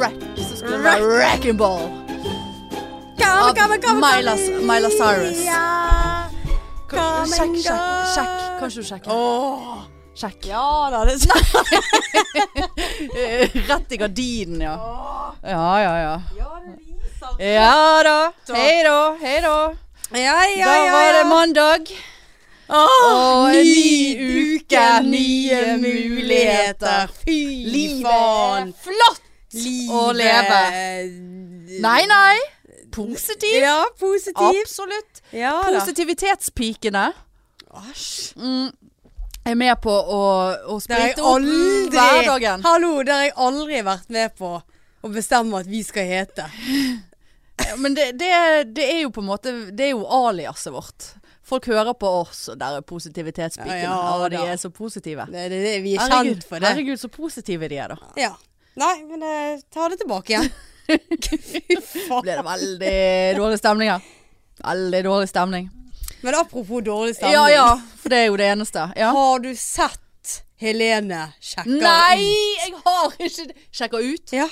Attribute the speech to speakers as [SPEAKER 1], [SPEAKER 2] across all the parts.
[SPEAKER 1] rack, så skulle det være rack and ball. Av Myla, Myla Cyrus.
[SPEAKER 2] Ja.
[SPEAKER 1] Ka-
[SPEAKER 2] Come
[SPEAKER 1] Sjekk,
[SPEAKER 2] and
[SPEAKER 1] sjekk,
[SPEAKER 2] go.
[SPEAKER 1] sjekk. Kanskje du sjekker?
[SPEAKER 2] Åh.
[SPEAKER 1] Sjekk.
[SPEAKER 2] Ja da, det er sant.
[SPEAKER 1] Rett i gardinen, ja. Ja, ja, ja.
[SPEAKER 2] Ja, det viser.
[SPEAKER 1] Ja da. Hei da, hei da.
[SPEAKER 2] Ja, ja,
[SPEAKER 1] Da
[SPEAKER 2] ja.
[SPEAKER 1] var
[SPEAKER 2] ja.
[SPEAKER 1] det mandag.
[SPEAKER 2] Åh,
[SPEAKER 1] Og en ny
[SPEAKER 2] ny
[SPEAKER 1] uke, nye muligheter.
[SPEAKER 2] Fy
[SPEAKER 1] Livet er
[SPEAKER 2] faen.
[SPEAKER 1] flott
[SPEAKER 2] Livet
[SPEAKER 1] å leve. Nei, nei. Positiv.
[SPEAKER 2] Ja, positiv.
[SPEAKER 1] Absolutt.
[SPEAKER 2] Ja da.
[SPEAKER 1] Positivitetspikene
[SPEAKER 2] Æsj.
[SPEAKER 1] er med på å, å
[SPEAKER 2] Det har jeg
[SPEAKER 1] splitte opp
[SPEAKER 2] aldri
[SPEAKER 1] hverdagen.
[SPEAKER 2] Hallo, det har jeg aldri vært med på å bestemme at vi skal hete.
[SPEAKER 1] Men det, det, det er jo på en måte Det er jo aliaset vårt. Folk hører på oss, og der er positivitetspikene. Ja,
[SPEAKER 2] Ja,
[SPEAKER 1] de
[SPEAKER 2] da.
[SPEAKER 1] er så positive.
[SPEAKER 2] Det, det, det, vi er
[SPEAKER 1] Herregud,
[SPEAKER 2] kjent for det.
[SPEAKER 1] herregud, så positive de er, da.
[SPEAKER 2] Ja. Nei, men eh, ta det tilbake igjen. Fy faen.
[SPEAKER 1] Ble det veldig dårlig stemning her. Veldig dårlig stemning.
[SPEAKER 2] Men apropos dårlig stemning.
[SPEAKER 1] Ja ja, for det er jo det eneste. Ja.
[SPEAKER 2] Har du sett Helene sjekker
[SPEAKER 1] Nei, jeg har ikke det. Sjekka ut?
[SPEAKER 2] Ja.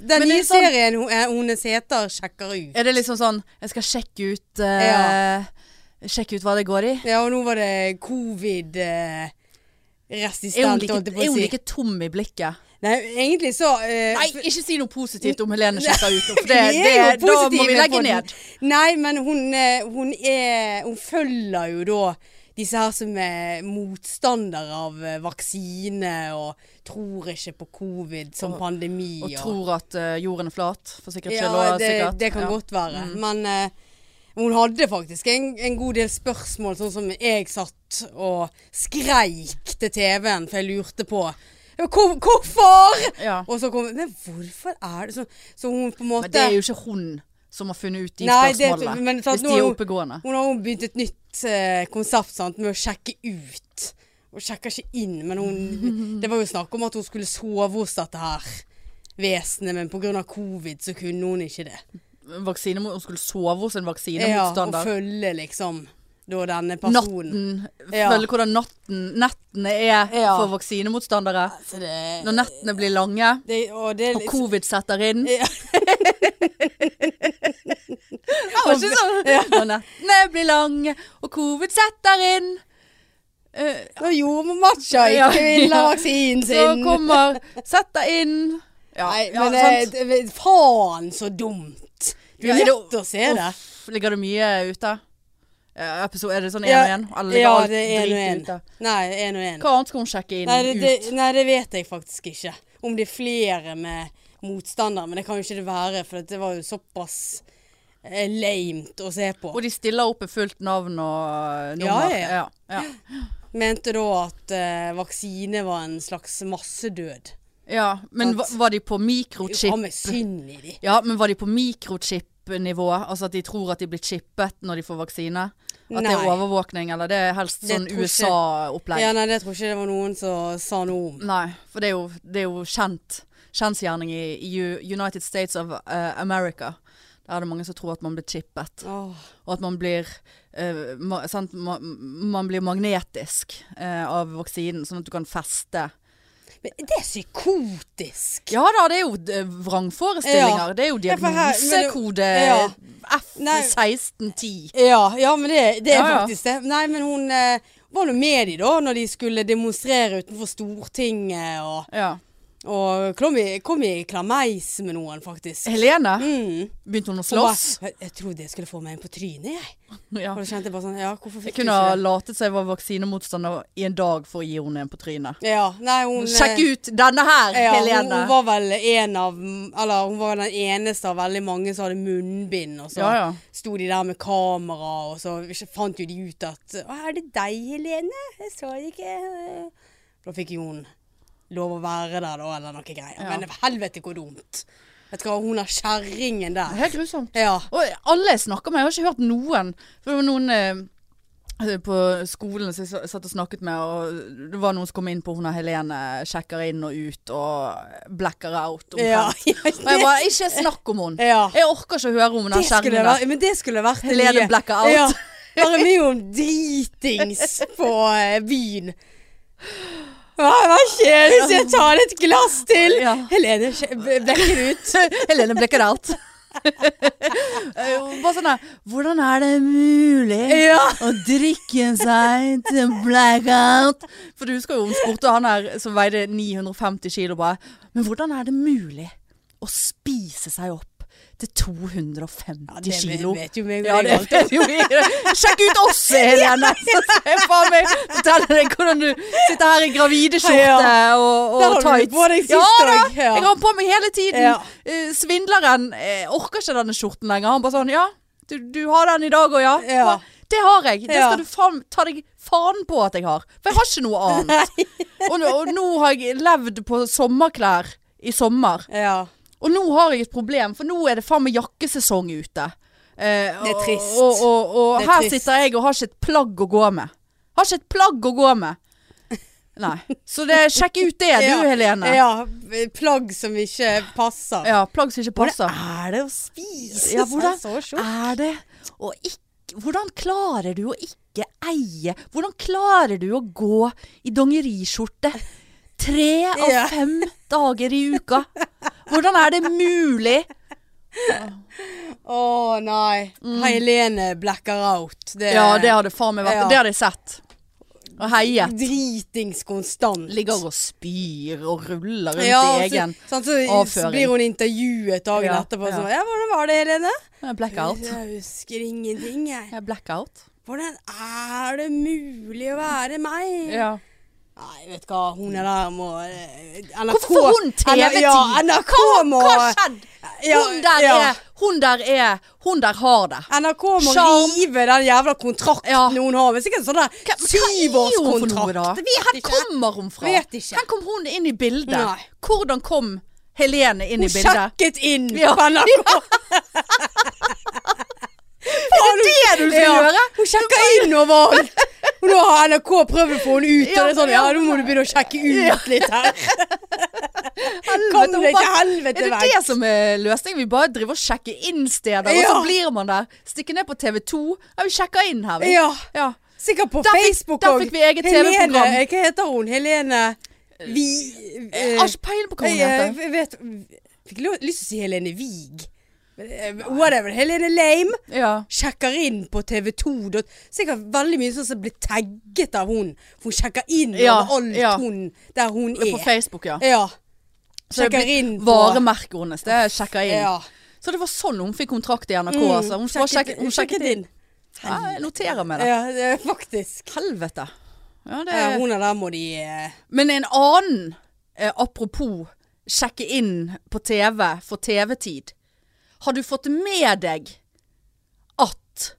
[SPEAKER 2] Den
[SPEAKER 1] Men det er
[SPEAKER 2] nye
[SPEAKER 1] sånn-
[SPEAKER 2] serien hun- eh, hennes heter 'Sjekker ut'.
[SPEAKER 1] Er det liksom sånn Jeg skal sjekke ut eh,
[SPEAKER 2] Ja.
[SPEAKER 1] Sjekke ut hva det går i?
[SPEAKER 2] Ja, og nå var det covid-resistent,
[SPEAKER 1] Er hun
[SPEAKER 2] holdt
[SPEAKER 1] like,
[SPEAKER 2] jeg på
[SPEAKER 1] er
[SPEAKER 2] å
[SPEAKER 1] hun
[SPEAKER 2] si.
[SPEAKER 1] like tom i blikket?
[SPEAKER 2] Nei, egentlig så eh,
[SPEAKER 1] Nei, ikke si noe positivt om Helene sjekker ut nå, for det,
[SPEAKER 2] Vi
[SPEAKER 1] det,
[SPEAKER 2] er jo
[SPEAKER 1] da må vi
[SPEAKER 2] positive på
[SPEAKER 1] legge
[SPEAKER 2] den.
[SPEAKER 1] ned.
[SPEAKER 2] Nei, men hun, eh, hun er Hun følger jo da disse her som er motstandere av eh, vaksine og tror ikke på covid som
[SPEAKER 1] Og-
[SPEAKER 2] pandemi.
[SPEAKER 1] Og tror at eh, jorden er flat, for sikkerhets skyld.
[SPEAKER 2] ja,
[SPEAKER 1] og
[SPEAKER 2] det,
[SPEAKER 1] sikkert.
[SPEAKER 2] det kan
[SPEAKER 1] Ja. Mm.
[SPEAKER 2] godt være. Men eh, hun hadde faktisk en, en god del spørsmål, sånn som jeg satt og skreik til TV-en, for jeg lurte på Hvor, Hvorfor?!
[SPEAKER 1] Ja.
[SPEAKER 2] Og så kom Men hvorfor er det sånn? Så hun på en måte
[SPEAKER 1] Men det er jo ikke hun som har funnet ut de
[SPEAKER 2] Nei, det-
[SPEAKER 1] spørsmålene.
[SPEAKER 2] men sant,
[SPEAKER 1] hvis
[SPEAKER 2] nå
[SPEAKER 1] de
[SPEAKER 2] er
[SPEAKER 1] er
[SPEAKER 2] hun-
[SPEAKER 1] oppegående.
[SPEAKER 2] Hun har jo begynt et nytt eh, konsept sant, med å sjekke ut. Hun sjekker ikke inn, men hun, det var jo snakk om at hun skulle sove hos dette her vesenet, men pga. covid så kunne hun ikke det.
[SPEAKER 1] Vaksinemo- hun skulle sove hos en
[SPEAKER 2] Ja, og
[SPEAKER 1] vaksinemotstander.
[SPEAKER 2] følge liksom da denne personen.
[SPEAKER 1] natten.
[SPEAKER 2] Ja.
[SPEAKER 1] Følge hvordan natten, nettene er
[SPEAKER 2] Ja.
[SPEAKER 1] for vaksinemotstandere.
[SPEAKER 2] Så det-
[SPEAKER 1] Når nettene blir lange,
[SPEAKER 2] det- og det er liksom-
[SPEAKER 1] og
[SPEAKER 2] litt-
[SPEAKER 1] covid setter inn.
[SPEAKER 2] Ja.
[SPEAKER 1] Det var ikke sånn. Når nettene blir lange, og covid setter inn,
[SPEAKER 2] Når jordmormatcha
[SPEAKER 1] Ja,
[SPEAKER 2] ikke vil ha
[SPEAKER 1] ja.
[SPEAKER 2] vaksinen
[SPEAKER 1] så
[SPEAKER 2] sin.
[SPEAKER 1] kommer setter inn. Ja,
[SPEAKER 2] Nei,
[SPEAKER 1] ja,
[SPEAKER 2] men eh,
[SPEAKER 1] sant.
[SPEAKER 2] det, det, faen så dumt. Du
[SPEAKER 1] Ja,
[SPEAKER 2] er
[SPEAKER 1] er det-
[SPEAKER 2] nødt til å se det.
[SPEAKER 1] Uff, ligger det mye ute? Eh, Episode, er det sånn én
[SPEAKER 2] Ja,
[SPEAKER 1] og én? Eller ligger
[SPEAKER 2] Ja,
[SPEAKER 1] alt
[SPEAKER 2] det er
[SPEAKER 1] drit
[SPEAKER 2] én og
[SPEAKER 1] ute?
[SPEAKER 2] én. Nei, én og én.
[SPEAKER 1] Hva annet skal hun sjekke inn?
[SPEAKER 2] Nei, det,
[SPEAKER 1] ut?
[SPEAKER 2] det, nei, det vet jeg faktisk ikke. Om det er flere med motstandere, men det kan jo ikke det være, for det var jo såpass eh, lamet å se på.
[SPEAKER 1] Og de stiller opp med fullt navn og eh,
[SPEAKER 2] Ja,
[SPEAKER 1] nummer.
[SPEAKER 2] ja, ja.
[SPEAKER 1] ja.
[SPEAKER 2] Mente da at eh, vaksine var en slags massedød.
[SPEAKER 1] ja Men hva- var de på mikrochip?
[SPEAKER 2] Ja, med synd i de.
[SPEAKER 1] Ja, men var de på mikrochip-nivå? Altså at de tror at de blir chippet når de får vaksine? At det er
[SPEAKER 2] Nei.
[SPEAKER 1] overvåkning, eller det er helst
[SPEAKER 2] Det
[SPEAKER 1] sånn
[SPEAKER 2] tror ikke-
[SPEAKER 1] USA-opplegg?
[SPEAKER 2] Ja, nei, det tror ikke det var noen som sa noe om.
[SPEAKER 1] Nei, for det er jo, det er jo kjent. Kjensgjerning i U- United States of eh, America. Der er det mange som tror at man blir chippet,
[SPEAKER 2] Åh,
[SPEAKER 1] og at man blir, eh, ma sant? Ma man blir magnetisk eh, av vaksinen, sånn at du kan feste.
[SPEAKER 2] men det er psykotisk!
[SPEAKER 1] Ja da, det er jo eh, vrangforestillinger.
[SPEAKER 2] Ja.
[SPEAKER 1] Det er jo
[SPEAKER 2] Ja, for her- men det-
[SPEAKER 1] diagnosekode
[SPEAKER 2] Ja. Nei.
[SPEAKER 1] F1610.
[SPEAKER 2] Ja, ja men det, det er
[SPEAKER 1] Ja, ja.
[SPEAKER 2] faktisk det. Nei, men hun eh, var nå med de da, når de skulle demonstrere utenfor Stortinget, og,
[SPEAKER 1] Ja.
[SPEAKER 2] og kom, i, kom i klameis med noen, faktisk.
[SPEAKER 1] Helene,
[SPEAKER 2] Mm.
[SPEAKER 1] begynte hun å
[SPEAKER 2] Hun bare,
[SPEAKER 1] slåss?
[SPEAKER 2] Jeg, jeg trodde jeg skulle få meg en på trynet, jeg.
[SPEAKER 1] Ja.
[SPEAKER 2] Og da kjente jeg bare sånn, ja, hvorfor
[SPEAKER 1] Jeg
[SPEAKER 2] fikk du
[SPEAKER 1] kunne ha
[SPEAKER 2] ikke det?
[SPEAKER 1] latet som jeg var vaksinemotstander i en dag for å gi henne en på trynet.
[SPEAKER 2] Ja, nei, hun... eh,
[SPEAKER 1] Sjekk ut denne her,
[SPEAKER 2] Ja, hun,
[SPEAKER 1] Helene!
[SPEAKER 2] hun var vel en av Eller hun var den eneste av veldig mange som hadde munnbind. Og så
[SPEAKER 1] Ja, ja.
[SPEAKER 2] sto de der med kamera, og så fant jo de ut at Å, er det deg, Helene? Jeg så det ikke. eh." Da fikk jo hun lov å være der, da, eller noe greier.
[SPEAKER 1] Ja.
[SPEAKER 2] Men helvete hvor dumt. Vet du hva, hun har kjerringen
[SPEAKER 1] Det
[SPEAKER 2] der.
[SPEAKER 1] er Helt grusomt.
[SPEAKER 2] Ja.
[SPEAKER 1] Og alle jeg snakker med, jeg har ikke hørt noen. For det var noen eh, på skolen som jeg satt og snakket med, og det var noen som kom inn på hun og Helene sjekker inn og ut og blacker out.
[SPEAKER 2] Ja,
[SPEAKER 1] omtrent.
[SPEAKER 2] ja,
[SPEAKER 1] Og jeg bare Ikke snakk om henne!
[SPEAKER 2] ja.
[SPEAKER 1] Jeg orker ikke å høre om
[SPEAKER 2] Det
[SPEAKER 1] den
[SPEAKER 2] skulle
[SPEAKER 1] kjerringa der.
[SPEAKER 2] vært, men det skulle vært det
[SPEAKER 1] Helene
[SPEAKER 2] nye.
[SPEAKER 1] blacker out.
[SPEAKER 2] Ja, bare med om dritings på eh, byen. Hva, hva skjer hvis jeg tar et glass til?
[SPEAKER 1] Ja.
[SPEAKER 2] Helene skje- b- blekker ut.
[SPEAKER 1] Helene blekker alt. Eh, Bare sånn der Hvordan er det mulig
[SPEAKER 2] Ja.
[SPEAKER 1] å drikke seg til blackout? For du husker jo hun spurte han her som veide 950 kilo bare Men hvordan er det mulig å spise seg opp til 250
[SPEAKER 2] Ja, det
[SPEAKER 1] kilo?
[SPEAKER 2] vet jo meg
[SPEAKER 1] Ja,
[SPEAKER 2] med en
[SPEAKER 1] det
[SPEAKER 2] gang.
[SPEAKER 1] vet jo vi. Sjekk ut oss, Helene! Så skal jeg faen meg fortelle deg hvordan du sitter her i gravideskjorte
[SPEAKER 2] Ja.
[SPEAKER 1] og,
[SPEAKER 2] Der
[SPEAKER 1] og
[SPEAKER 2] har du
[SPEAKER 1] tights.
[SPEAKER 2] på deg sist
[SPEAKER 1] ja da!
[SPEAKER 2] dag, ja.
[SPEAKER 1] Jeg har den på meg hele tiden.
[SPEAKER 2] Ja.
[SPEAKER 1] Eh, Svindleren eh, orker ikke denne skjorten lenger. Han bare sånn Ja, du, du har den i dag òg, ja.
[SPEAKER 2] Ja.
[SPEAKER 1] Det har jeg. Det
[SPEAKER 2] Ja.
[SPEAKER 1] skal du faen ta deg faen på at jeg har. For jeg har ikke noe annet. Og, nå- og nå har jeg levd på sommerklær i sommer.
[SPEAKER 2] Ja.
[SPEAKER 1] Og nå har jeg et problem, for nå er det faen meg jakkesesong ute. Eh,
[SPEAKER 2] Det er trist.
[SPEAKER 1] Og, og, og,
[SPEAKER 2] Det
[SPEAKER 1] og
[SPEAKER 2] er
[SPEAKER 1] her
[SPEAKER 2] trist.
[SPEAKER 1] sitter jeg og har ikke et plagg å gå med. Har ikke et plagg å gå med. Nei. Så det, sjekk ut det, du
[SPEAKER 2] Ja.
[SPEAKER 1] Helene. Ja.
[SPEAKER 2] ja. Plagg som ikke passer.
[SPEAKER 1] plagg som ikke
[SPEAKER 2] Hvordan
[SPEAKER 1] passer.
[SPEAKER 2] er det å spise
[SPEAKER 1] Ja,
[SPEAKER 2] seg
[SPEAKER 1] hvordan
[SPEAKER 2] så tjukk?
[SPEAKER 1] Er det å ikke Hvordan klarer du å ikke eie Hvordan klarer du å gå i dongeriskjorte tre av
[SPEAKER 2] Ja.
[SPEAKER 1] fem dager i uka? Hvordan er det mulig?
[SPEAKER 2] Å nei. Helene blacker out. Det
[SPEAKER 1] Mm. Ja, det hadde faen meg
[SPEAKER 2] Eh,
[SPEAKER 1] vært
[SPEAKER 2] Ja.
[SPEAKER 1] Det hadde jeg sett. Og heiet.
[SPEAKER 2] Dritings konstant.
[SPEAKER 1] Ligger og spyr og ruller rundt
[SPEAKER 2] ja,
[SPEAKER 1] i egen
[SPEAKER 2] så, sånn, så,
[SPEAKER 1] avføring.
[SPEAKER 2] så blir hun intervjuet dagen
[SPEAKER 1] Ja,
[SPEAKER 2] etterpå.
[SPEAKER 1] ja.
[SPEAKER 2] Sånn, ja, 'Hvordan var det, Helene?'
[SPEAKER 1] Jeg er blackout.
[SPEAKER 2] Jeg husker ingenting, jeg.
[SPEAKER 1] Jeg er blackout.
[SPEAKER 2] Hvordan er det mulig å være meg?
[SPEAKER 1] Ja.
[SPEAKER 2] Nei, vet du hva, hun er der må eh, NRK,
[SPEAKER 1] Hvorfor får hun TV-tid?
[SPEAKER 2] Ja, NRK må
[SPEAKER 1] Hva skjedde?
[SPEAKER 2] Ja,
[SPEAKER 1] Hun der
[SPEAKER 2] ja.
[SPEAKER 1] er Hun der er Hun der har det.
[SPEAKER 2] NRK må
[SPEAKER 1] Charm.
[SPEAKER 2] rive den jævla kontrakten
[SPEAKER 1] Ja.
[SPEAKER 2] hun har. Men sikkert sånn der
[SPEAKER 1] Hva- men hva er hun for noe,
[SPEAKER 2] syvårskontrakt.
[SPEAKER 1] da?
[SPEAKER 2] Det vet
[SPEAKER 1] Hvor
[SPEAKER 2] ikke.
[SPEAKER 1] kommer hun fra?
[SPEAKER 2] Vet ikke.
[SPEAKER 1] Hvordan kom hun inn i bildet?
[SPEAKER 2] Nei.
[SPEAKER 1] Hvordan kom Helene inn i
[SPEAKER 2] Hun
[SPEAKER 1] bildet?
[SPEAKER 2] sjekket inn
[SPEAKER 1] Ja.
[SPEAKER 2] på NRK.
[SPEAKER 1] Er det det du skal gjøre?
[SPEAKER 2] Hun sjekker inn overalt. Og Nå har NRK prøvd å få henne ut,
[SPEAKER 1] Ja,
[SPEAKER 2] og det er sånn Ja,
[SPEAKER 1] ja.
[SPEAKER 2] nå må du begynne å sjekke ut litt her.
[SPEAKER 1] Helvete,
[SPEAKER 2] Kom
[SPEAKER 1] hun
[SPEAKER 2] deg
[SPEAKER 1] bare-
[SPEAKER 2] til helvete
[SPEAKER 1] Er det
[SPEAKER 2] vekk.
[SPEAKER 1] det som er løsningen? Vi bare driver og sjekker inn steder, og
[SPEAKER 2] Ja.
[SPEAKER 1] så blir man der. Stikker ned på TV 2. Ja, vi sjekker inn her, vi.
[SPEAKER 2] Ja.
[SPEAKER 1] Ja.
[SPEAKER 2] Sikkert på
[SPEAKER 1] Der fikk-
[SPEAKER 2] Facebook
[SPEAKER 1] der
[SPEAKER 2] og
[SPEAKER 1] fikk vi eget
[SPEAKER 2] Helene-
[SPEAKER 1] TV-program. Eh,
[SPEAKER 2] Hva heter hun? Helene Vi... Eh,
[SPEAKER 1] Jeg har ikke peiling på hva hun
[SPEAKER 2] jeg,
[SPEAKER 1] heter.
[SPEAKER 2] jeg vet Fikk lo- lyst til å si Helene Wiig. Men, eh, Whatever. Helene Lame
[SPEAKER 1] Ja.
[SPEAKER 2] sjekker inn på TV2. da- Sikkert veldig mye sånn som blir tagget av hun. For hun sjekker inn
[SPEAKER 1] Ja,
[SPEAKER 2] overalt
[SPEAKER 1] ja.
[SPEAKER 2] hun, der hun
[SPEAKER 1] Det er På
[SPEAKER 2] er.
[SPEAKER 1] Facebook, ja.
[SPEAKER 2] Ja.
[SPEAKER 1] Så det
[SPEAKER 2] Sjekker
[SPEAKER 1] blir
[SPEAKER 2] inn på
[SPEAKER 1] Varemerket hennes. Det er sjekka inn.
[SPEAKER 2] Ja.
[SPEAKER 1] Så det var sånn hun fikk kontrakt i NRK.
[SPEAKER 2] Mm,
[SPEAKER 1] altså. Hun, sjekket, sjekket, hun sjekket inn. Ja, jeg noterer meg det.
[SPEAKER 2] Ja, det er faktisk.
[SPEAKER 1] Helvete. Ja, det
[SPEAKER 2] Eh. Ja, hun er der må de eh,
[SPEAKER 1] Men en annen, eh, apropos sjekke inn på TV for TV-tid. Har du fått med deg at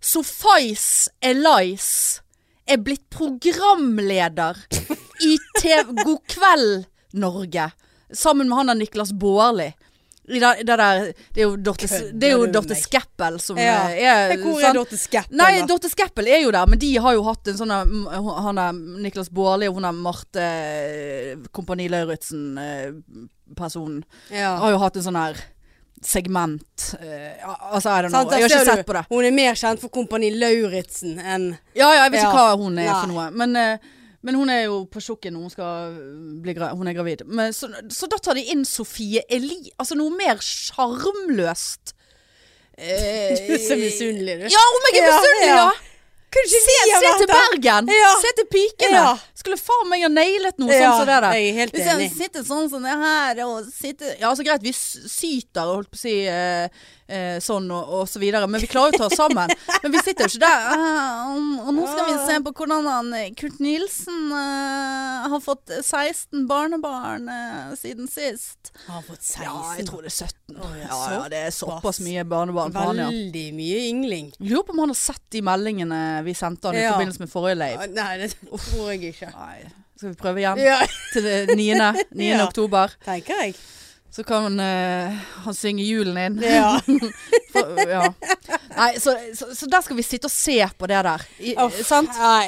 [SPEAKER 1] Suffice Elice er blitt programleder i TV God kveld Norge sammen med han der Niklas Baarli. I det, det, der, det er jo Dorte, det er jo
[SPEAKER 2] Kødder du
[SPEAKER 1] Dorte
[SPEAKER 2] meg?
[SPEAKER 1] Skeppel som
[SPEAKER 2] ja.
[SPEAKER 1] eh, er
[SPEAKER 2] Hvor
[SPEAKER 1] sant?
[SPEAKER 2] er Dorte Skeppen?
[SPEAKER 1] Nei,
[SPEAKER 2] da?
[SPEAKER 1] Dorte Skeppel er jo der, men de har jo hatt en sånn der- m- Han er Niklas Baarli og hun er Marte eh, Kompani Lauritzen-personen.
[SPEAKER 2] ja.
[SPEAKER 1] Har jo hatt en sånn her segment eh, Altså, I don't know.
[SPEAKER 2] Sant, der
[SPEAKER 1] Jeg
[SPEAKER 2] ser
[SPEAKER 1] har ikke
[SPEAKER 2] du.
[SPEAKER 1] sett på det.
[SPEAKER 2] Hun er mer kjent for Kompani Lauritzen enn
[SPEAKER 1] Ja, ja, jeg vet ikke
[SPEAKER 2] Ja.
[SPEAKER 1] hva hun er
[SPEAKER 2] Nei.
[SPEAKER 1] for noe. Men, eh, men hun er jo på tjukken, og hun, skal eh, bli gra hun er gravid. Men, så, så da tar de inn Sofie Eli. Altså noe mer sjarmløst. Eh,
[SPEAKER 2] Du er så misunnelig, du.
[SPEAKER 1] Ja, om jeg er
[SPEAKER 2] Ja,
[SPEAKER 1] misunnelig,
[SPEAKER 2] ja.
[SPEAKER 1] ja!
[SPEAKER 2] Kunne ikke
[SPEAKER 1] Se,
[SPEAKER 2] vi ha
[SPEAKER 1] se
[SPEAKER 2] vært
[SPEAKER 1] til
[SPEAKER 2] der?
[SPEAKER 1] Bergen!
[SPEAKER 2] Ja.
[SPEAKER 1] Se til pikene!
[SPEAKER 2] Ja.
[SPEAKER 1] Skulle faen meg ha nailet noe
[SPEAKER 2] Ja,
[SPEAKER 1] sånn som det der.
[SPEAKER 2] jeg er helt
[SPEAKER 1] Hvis jeg
[SPEAKER 2] enig.
[SPEAKER 1] sitter sånn som det her og sitter Ja, så greit, vi s- syter og holdt på å si eh, eh, sånn og, og så videre, men vi klarer jo å ta oss sammen. Men vi sitter jo ikke der. eh, og- og nå skal vi se på hvordan han eh, Kurt Nilsen eh, har fått 16 barnebarn eh, siden sist.
[SPEAKER 2] Har han fått 16?
[SPEAKER 1] Ja, jeg tror det er 17.
[SPEAKER 2] ja,
[SPEAKER 1] ja, ja, det er
[SPEAKER 2] såpass.
[SPEAKER 1] såpass mye barnebarn på han, ja.
[SPEAKER 2] Veldig mye yngling.
[SPEAKER 1] Lurer på om han har sett de meldingene vi sendte han i
[SPEAKER 2] Ja.
[SPEAKER 1] forbindelse med forrige lave.
[SPEAKER 2] Ja, Nei, det tror jeg ikke.
[SPEAKER 1] Nei. Skal vi prøve igjen?
[SPEAKER 2] Ja,
[SPEAKER 1] Til det 9. 9.
[SPEAKER 2] Ja.
[SPEAKER 1] oktober.
[SPEAKER 2] tenker jeg.
[SPEAKER 1] Så kan eh, han synge julen inn.
[SPEAKER 2] Ja.
[SPEAKER 1] For, ja. Nei, så, så, så der skal vi sitte og se på det der. I,
[SPEAKER 2] Uff,
[SPEAKER 1] sant?
[SPEAKER 2] Nei.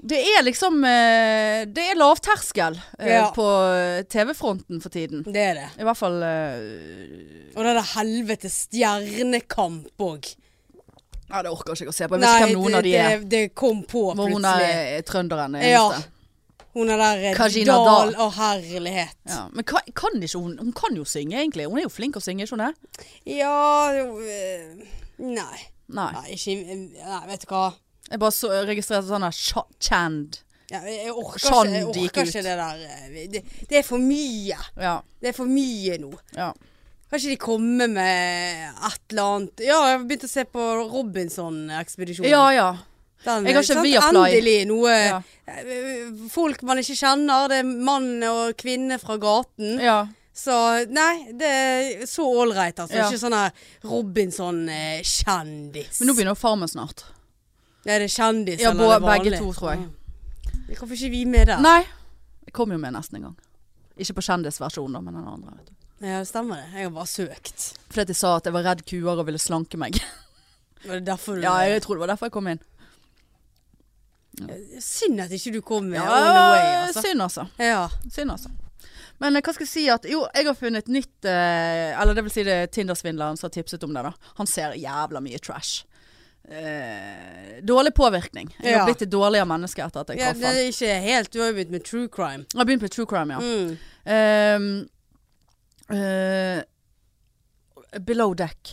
[SPEAKER 1] Det er liksom eh, Det er lavterskel eh,
[SPEAKER 2] Ja.
[SPEAKER 1] på TV-fronten for tiden.
[SPEAKER 2] Det er det.
[SPEAKER 1] I hvert fall eh,
[SPEAKER 2] Og det der helvete stjernekamp òg.
[SPEAKER 1] Ja, det orker ikke jeg å se på. Jeg vet ikke hvem noen av de er.
[SPEAKER 2] Det, det kom på
[SPEAKER 1] Hvor hun er
[SPEAKER 2] plutselig.
[SPEAKER 1] eh, trønderen.
[SPEAKER 2] Ja.
[SPEAKER 1] eneste.
[SPEAKER 2] Hun er der eh,
[SPEAKER 1] Kajina
[SPEAKER 2] Dahl.
[SPEAKER 1] Dahl.
[SPEAKER 2] Å, herlighet.
[SPEAKER 1] Ja, men kan, kan ikke hun Hun kan jo synge, egentlig. Hun er jo flink til å synge, ikke hun det?
[SPEAKER 2] Ja, jo, eh, Nei.
[SPEAKER 1] Nei.
[SPEAKER 2] Nei, ikke, eh, nei, vet du hva.
[SPEAKER 1] Jeg bare så, registrerte sånn her cha- Chand.
[SPEAKER 2] Ja, jeg jeg orker,
[SPEAKER 1] Sand
[SPEAKER 2] ikke, jeg
[SPEAKER 1] Sånn gikk
[SPEAKER 2] orker
[SPEAKER 1] ut.
[SPEAKER 2] ikke det der. eh, Det, det er for mye.
[SPEAKER 1] Ja.
[SPEAKER 2] Det er for mye nå.
[SPEAKER 1] ja.
[SPEAKER 2] Kan ikke de komme med et eller annet Ja, jeg har begynt å se på Robinson-ekspedisjonen.
[SPEAKER 1] Ja ja.
[SPEAKER 2] Den,
[SPEAKER 1] Jeg har ikke
[SPEAKER 2] sant?
[SPEAKER 1] Viaplay.
[SPEAKER 2] Endelig noe
[SPEAKER 1] Ja.
[SPEAKER 2] eh, folk man ikke kjenner. Det er mann og kvinne fra gaten.
[SPEAKER 1] ja.
[SPEAKER 2] Så nei, det er så ålreit, altså.
[SPEAKER 1] Ja.
[SPEAKER 2] Ikke sånn her Robinson-kjendis.
[SPEAKER 1] Men nå begynner jo Farmen snart.
[SPEAKER 2] Nei, det er kjendis
[SPEAKER 1] Ja,
[SPEAKER 2] eller det er
[SPEAKER 1] både- begge
[SPEAKER 2] vanlig?
[SPEAKER 1] to, tror jeg.
[SPEAKER 2] Ja. Hvorfor ikke vi med der?
[SPEAKER 1] Nei. Jeg kom jo med nesten en gang. Ikke på kjendisversjonen, da, men den andre. vet du.
[SPEAKER 2] Ja, det stemmer det. Jeg har bare søkt.
[SPEAKER 1] Fordi at jeg sa at jeg var redd kuer og ville slanke meg.
[SPEAKER 2] Var det derfor du
[SPEAKER 1] ja, jeg tror det var derfor jeg kom inn.
[SPEAKER 2] Synd at ikke du kom med
[SPEAKER 1] Ja,
[SPEAKER 2] All the Way, altså.
[SPEAKER 1] Synd, altså.
[SPEAKER 2] Ja.
[SPEAKER 1] Synd, altså. Men eh, hva skal jeg si at Jo, jeg har funnet et nytt eh, Eller det vil si det er Tinder-svindleren som har tipset om det, da. Han ser jævla mye trash. Eh, dårlig påvirkning. Jeg
[SPEAKER 2] Ja.
[SPEAKER 1] har blitt et dårligere menneske etter at jeg
[SPEAKER 2] ja
[SPEAKER 1] traff
[SPEAKER 2] det
[SPEAKER 1] han.
[SPEAKER 2] er ikke helt Du har jo begynt med true crime.
[SPEAKER 1] Jeg har begynt med true crime, ja.
[SPEAKER 2] Mm.
[SPEAKER 1] Eh, Ehm, eh, Below Deck.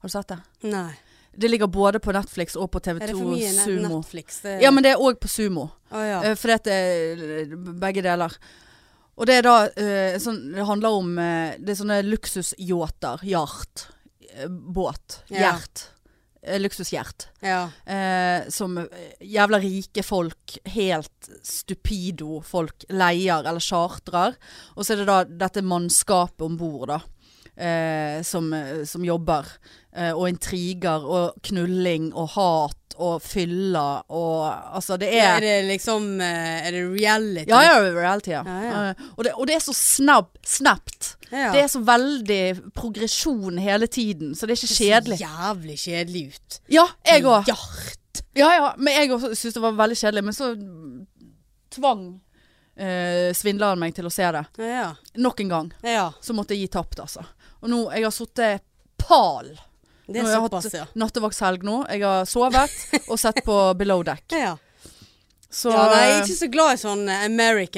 [SPEAKER 1] Har du sett det?
[SPEAKER 2] Nei.
[SPEAKER 1] Det ligger både på Netflix og på
[SPEAKER 2] Er det for
[SPEAKER 1] TV2
[SPEAKER 2] mye net-
[SPEAKER 1] Sumo.
[SPEAKER 2] Netflix? Det...
[SPEAKER 1] Ja, men det er òg på Sumo.
[SPEAKER 2] Å, ja.
[SPEAKER 1] Eh, For det er begge deler. Og det er da eh, sånn, Det handler om eh, Det er sånne luksusyachter. Yacht. eh, Båt.
[SPEAKER 2] Ja.
[SPEAKER 1] Gjert. Eh, Luksusgjert.
[SPEAKER 2] ja.
[SPEAKER 1] Eh, som eh, jævla rike folk, helt stupido folk, leier eller chartrer. Og så er det da dette mannskapet om bord, da. Eh, som, eh, som jobber. Eh, og intriger og knulling og hat og fyller og Altså, det
[SPEAKER 2] Er
[SPEAKER 1] er
[SPEAKER 2] det liksom eh, Er det reality?
[SPEAKER 1] ja, ja, reality, ja.
[SPEAKER 2] Ja, ja.
[SPEAKER 1] Eh, og, det, og det er så snab, snapt.
[SPEAKER 2] Ja.
[SPEAKER 1] Det er så veldig progresjon hele tiden, så det er ikke
[SPEAKER 2] Det
[SPEAKER 1] kjedelig.
[SPEAKER 2] ser jævlig kjedelig ut.
[SPEAKER 1] Ja, jeg òg.
[SPEAKER 2] Hjert.
[SPEAKER 1] Ja, ja, men jeg òg syntes det var veldig kjedelig. Men så tvang eh, svindleren meg til å se det.
[SPEAKER 2] Ja, ja.
[SPEAKER 1] Nok en gang.
[SPEAKER 2] ja.
[SPEAKER 1] Så måtte jeg gi tapt, altså. Og nå, jeg har sittet pal.
[SPEAKER 2] Det
[SPEAKER 1] Nå
[SPEAKER 2] er
[SPEAKER 1] har jeg
[SPEAKER 2] såpass, ja.
[SPEAKER 1] Nattevaktshelg nå. Jeg har sovet og sett på Below Deck.
[SPEAKER 2] Ja, ja.
[SPEAKER 1] Så
[SPEAKER 2] ja, nei, jeg er ikke så glad i sånn eh,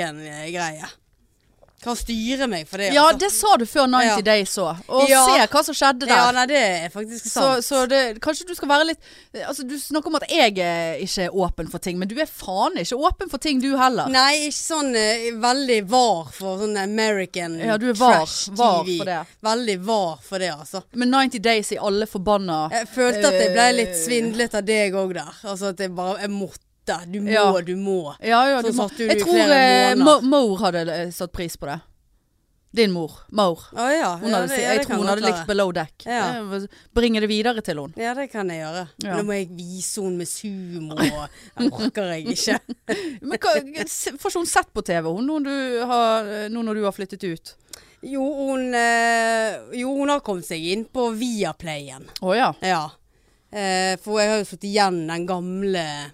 [SPEAKER 2] American-greie. Kan styre meg for det.
[SPEAKER 1] Ja,
[SPEAKER 2] altså.
[SPEAKER 1] det sa du før 90
[SPEAKER 2] Ja.
[SPEAKER 1] Days òg. Og
[SPEAKER 2] Ja.
[SPEAKER 1] se hva som skjedde der.
[SPEAKER 2] Ja, nei, det er faktisk
[SPEAKER 1] Så,
[SPEAKER 2] sant.
[SPEAKER 1] så det, kanskje du skal være litt Altså Du snakker om at jeg er ikke er åpen for ting, men du er faen ikke åpen for ting du heller.
[SPEAKER 2] Nei, ikke sånn eh, veldig var for sånn American
[SPEAKER 1] Ja, du er var-
[SPEAKER 2] trash
[SPEAKER 1] var
[SPEAKER 2] TV.
[SPEAKER 1] for det.
[SPEAKER 2] Veldig var for det, altså.
[SPEAKER 1] Men 90 Days i alle forbanna
[SPEAKER 2] Jeg følte at jeg ble litt
[SPEAKER 1] Eh.
[SPEAKER 2] svindlet av deg òg der. Altså at jeg bare Jeg måtte. Du må,
[SPEAKER 1] Ja.
[SPEAKER 2] du må.
[SPEAKER 1] Ja, ja, du
[SPEAKER 2] Så
[SPEAKER 1] må,
[SPEAKER 2] satt du i
[SPEAKER 1] jeg tror
[SPEAKER 2] flere
[SPEAKER 1] eh,
[SPEAKER 2] måneder.
[SPEAKER 1] mo- mor hadde eh, satt pris på det. Din mor. Mor.
[SPEAKER 2] Å ja.
[SPEAKER 1] Hun
[SPEAKER 2] ja,
[SPEAKER 1] hadde,
[SPEAKER 2] det-
[SPEAKER 1] si-
[SPEAKER 2] ja,
[SPEAKER 1] jeg
[SPEAKER 2] det kan
[SPEAKER 1] tror hun
[SPEAKER 2] godt
[SPEAKER 1] hadde likt
[SPEAKER 2] være.
[SPEAKER 1] Below Deck.
[SPEAKER 2] Ja.
[SPEAKER 1] Eh, Bringe det videre til henne.
[SPEAKER 2] Ja, det kan jeg gjøre.
[SPEAKER 1] Ja.
[SPEAKER 2] Men da må jeg vise henne med sumo og Det orker jeg ikke.
[SPEAKER 1] Men hva, se- får ikke hun sett på TV hun, nå, du har, eh, nå når du har flyttet ut?
[SPEAKER 2] Jo, hun eh, Jo, hun har kommet seg inn på Viaplayen.
[SPEAKER 1] Å ja.
[SPEAKER 2] Ja. Eh, for jeg har jo fått igjen den gamle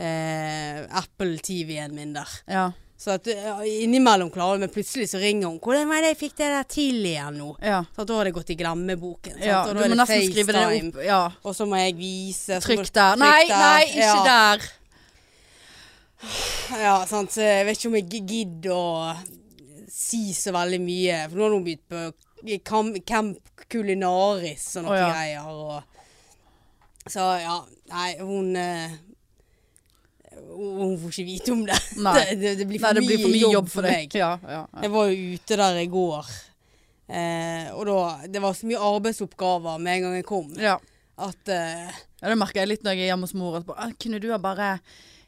[SPEAKER 2] eh, Apple-TV-en min der.
[SPEAKER 1] Ja.
[SPEAKER 2] Så at eh, innimellom klarer hun, men plutselig så ringer hun. 'Hvordan var det jeg fikk det der til igjen nå?'
[SPEAKER 1] ja.
[SPEAKER 2] Så da har det gått i glemmeboken. sant?
[SPEAKER 1] ja.
[SPEAKER 2] og
[SPEAKER 1] Du
[SPEAKER 2] da er
[SPEAKER 1] må
[SPEAKER 2] det
[SPEAKER 1] nesten skrive det
[SPEAKER 2] FaceTime,
[SPEAKER 1] opp. Ja.
[SPEAKER 2] Og så må jeg vise. så må-
[SPEAKER 1] Trykk der. Nei,
[SPEAKER 2] Trykk der.
[SPEAKER 1] nei, ikke
[SPEAKER 2] ja.
[SPEAKER 1] der.
[SPEAKER 2] Ja, sant. så Jeg vet ikke om jeg gidder å si så veldig mye. For nå har hun begynt på kam- Camp Culinaris og noen
[SPEAKER 1] Å, ja.
[SPEAKER 2] greier. Og, så ja, nei, hun eh, Hun får ikke vite om det.
[SPEAKER 1] Nei.
[SPEAKER 2] Det, det, det blir
[SPEAKER 1] Nei,
[SPEAKER 2] for,
[SPEAKER 1] det blir for mye jobb for
[SPEAKER 2] meg.
[SPEAKER 1] deg. Ja, ja, ja.
[SPEAKER 2] Jeg var jo ute der i går. Eh, og da, det var så mye arbeidsoppgaver med en gang jeg kom,
[SPEAKER 1] ja.
[SPEAKER 2] at eh,
[SPEAKER 1] ja, det merker jeg litt når jeg er hjemme hos mor. At bare, «Ah, kunne du ha bare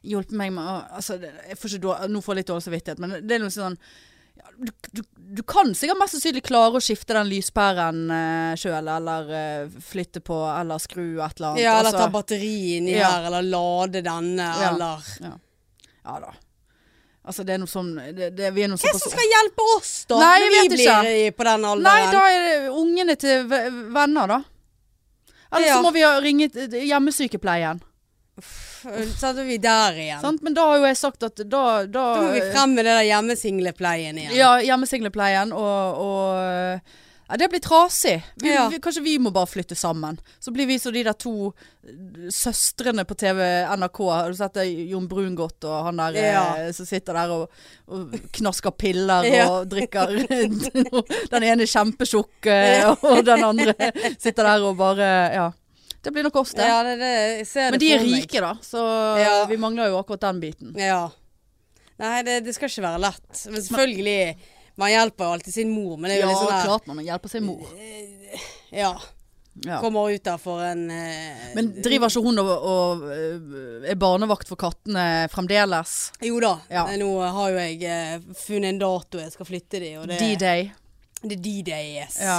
[SPEAKER 1] hjulpet meg med å altså, det- jeg får ikke, dår- Nå får jeg litt dårlig samvittighet, men det er noe sånn ja, du, du, du kan sikkert mest sannsynlig klare å skifte den lyspæren eh, sjøl, eller eh, flytte på, eller skru et eller annet.
[SPEAKER 2] Ja, eller ta
[SPEAKER 1] altså.
[SPEAKER 2] batteriet inni
[SPEAKER 1] Ja.
[SPEAKER 2] her, eller lade denne,
[SPEAKER 1] Ja.
[SPEAKER 2] eller
[SPEAKER 1] Ja da. Altså, det er noe sånn det, det, Vi er noe sånn
[SPEAKER 2] Hva som skal hjelpe oss, da?
[SPEAKER 1] Nei,
[SPEAKER 2] når
[SPEAKER 1] jeg
[SPEAKER 2] vi
[SPEAKER 1] vet ikke.
[SPEAKER 2] blir i- på den alderen.
[SPEAKER 1] Nei, da er det ungene til v- venner, da. Eller
[SPEAKER 2] Ja.
[SPEAKER 1] så må vi ha ringe eh, hjemmesykepleien.
[SPEAKER 2] Så er vi der igjen.
[SPEAKER 1] Sant? Men da har jo jeg sagt at da Sånn, Da,
[SPEAKER 2] Da må vi frem med det der hjemmesinglepleien igjen.
[SPEAKER 1] Ja, hjemmesinglepleien og, og Ja, det blir trasig. Vi,
[SPEAKER 2] Ja.
[SPEAKER 1] vi, kanskje vi må bare flytte sammen. Så blir vi så de der to eh, søstrene på TV NRK. Har du sett det? Jon Brungot og han der eh, som sitter der og, og knasker piller
[SPEAKER 2] Ja.
[SPEAKER 1] og drikker Den ene er kjempetjukk, eh, og den andre sitter der og bare Ja. Det blir nok oss, det.
[SPEAKER 2] Ja, det, det, jeg ser det
[SPEAKER 1] Men de er
[SPEAKER 2] for meg.
[SPEAKER 1] rike, da, så
[SPEAKER 2] Ja.
[SPEAKER 1] vi mangler jo akkurat den biten.
[SPEAKER 2] Ja. Nei, det, det skal ikke være lett. Men selvfølgelig, man hjelper jo alltid sin mor, men det er
[SPEAKER 1] Ja,
[SPEAKER 2] jo litt sånn der
[SPEAKER 1] klart man må hjelpe sin mor.
[SPEAKER 2] Ja.
[SPEAKER 1] Ja.
[SPEAKER 2] Kommer ut der for en eh,
[SPEAKER 1] Men driver ikke hun og, og øh, er barnevakt for kattene fremdeles?
[SPEAKER 2] Jo da,
[SPEAKER 1] Ja.
[SPEAKER 2] nå har jo jeg eh, funnet en dato jeg skal flytte de, og det,
[SPEAKER 1] D-day.
[SPEAKER 2] det er D-day, yes.
[SPEAKER 1] Ja.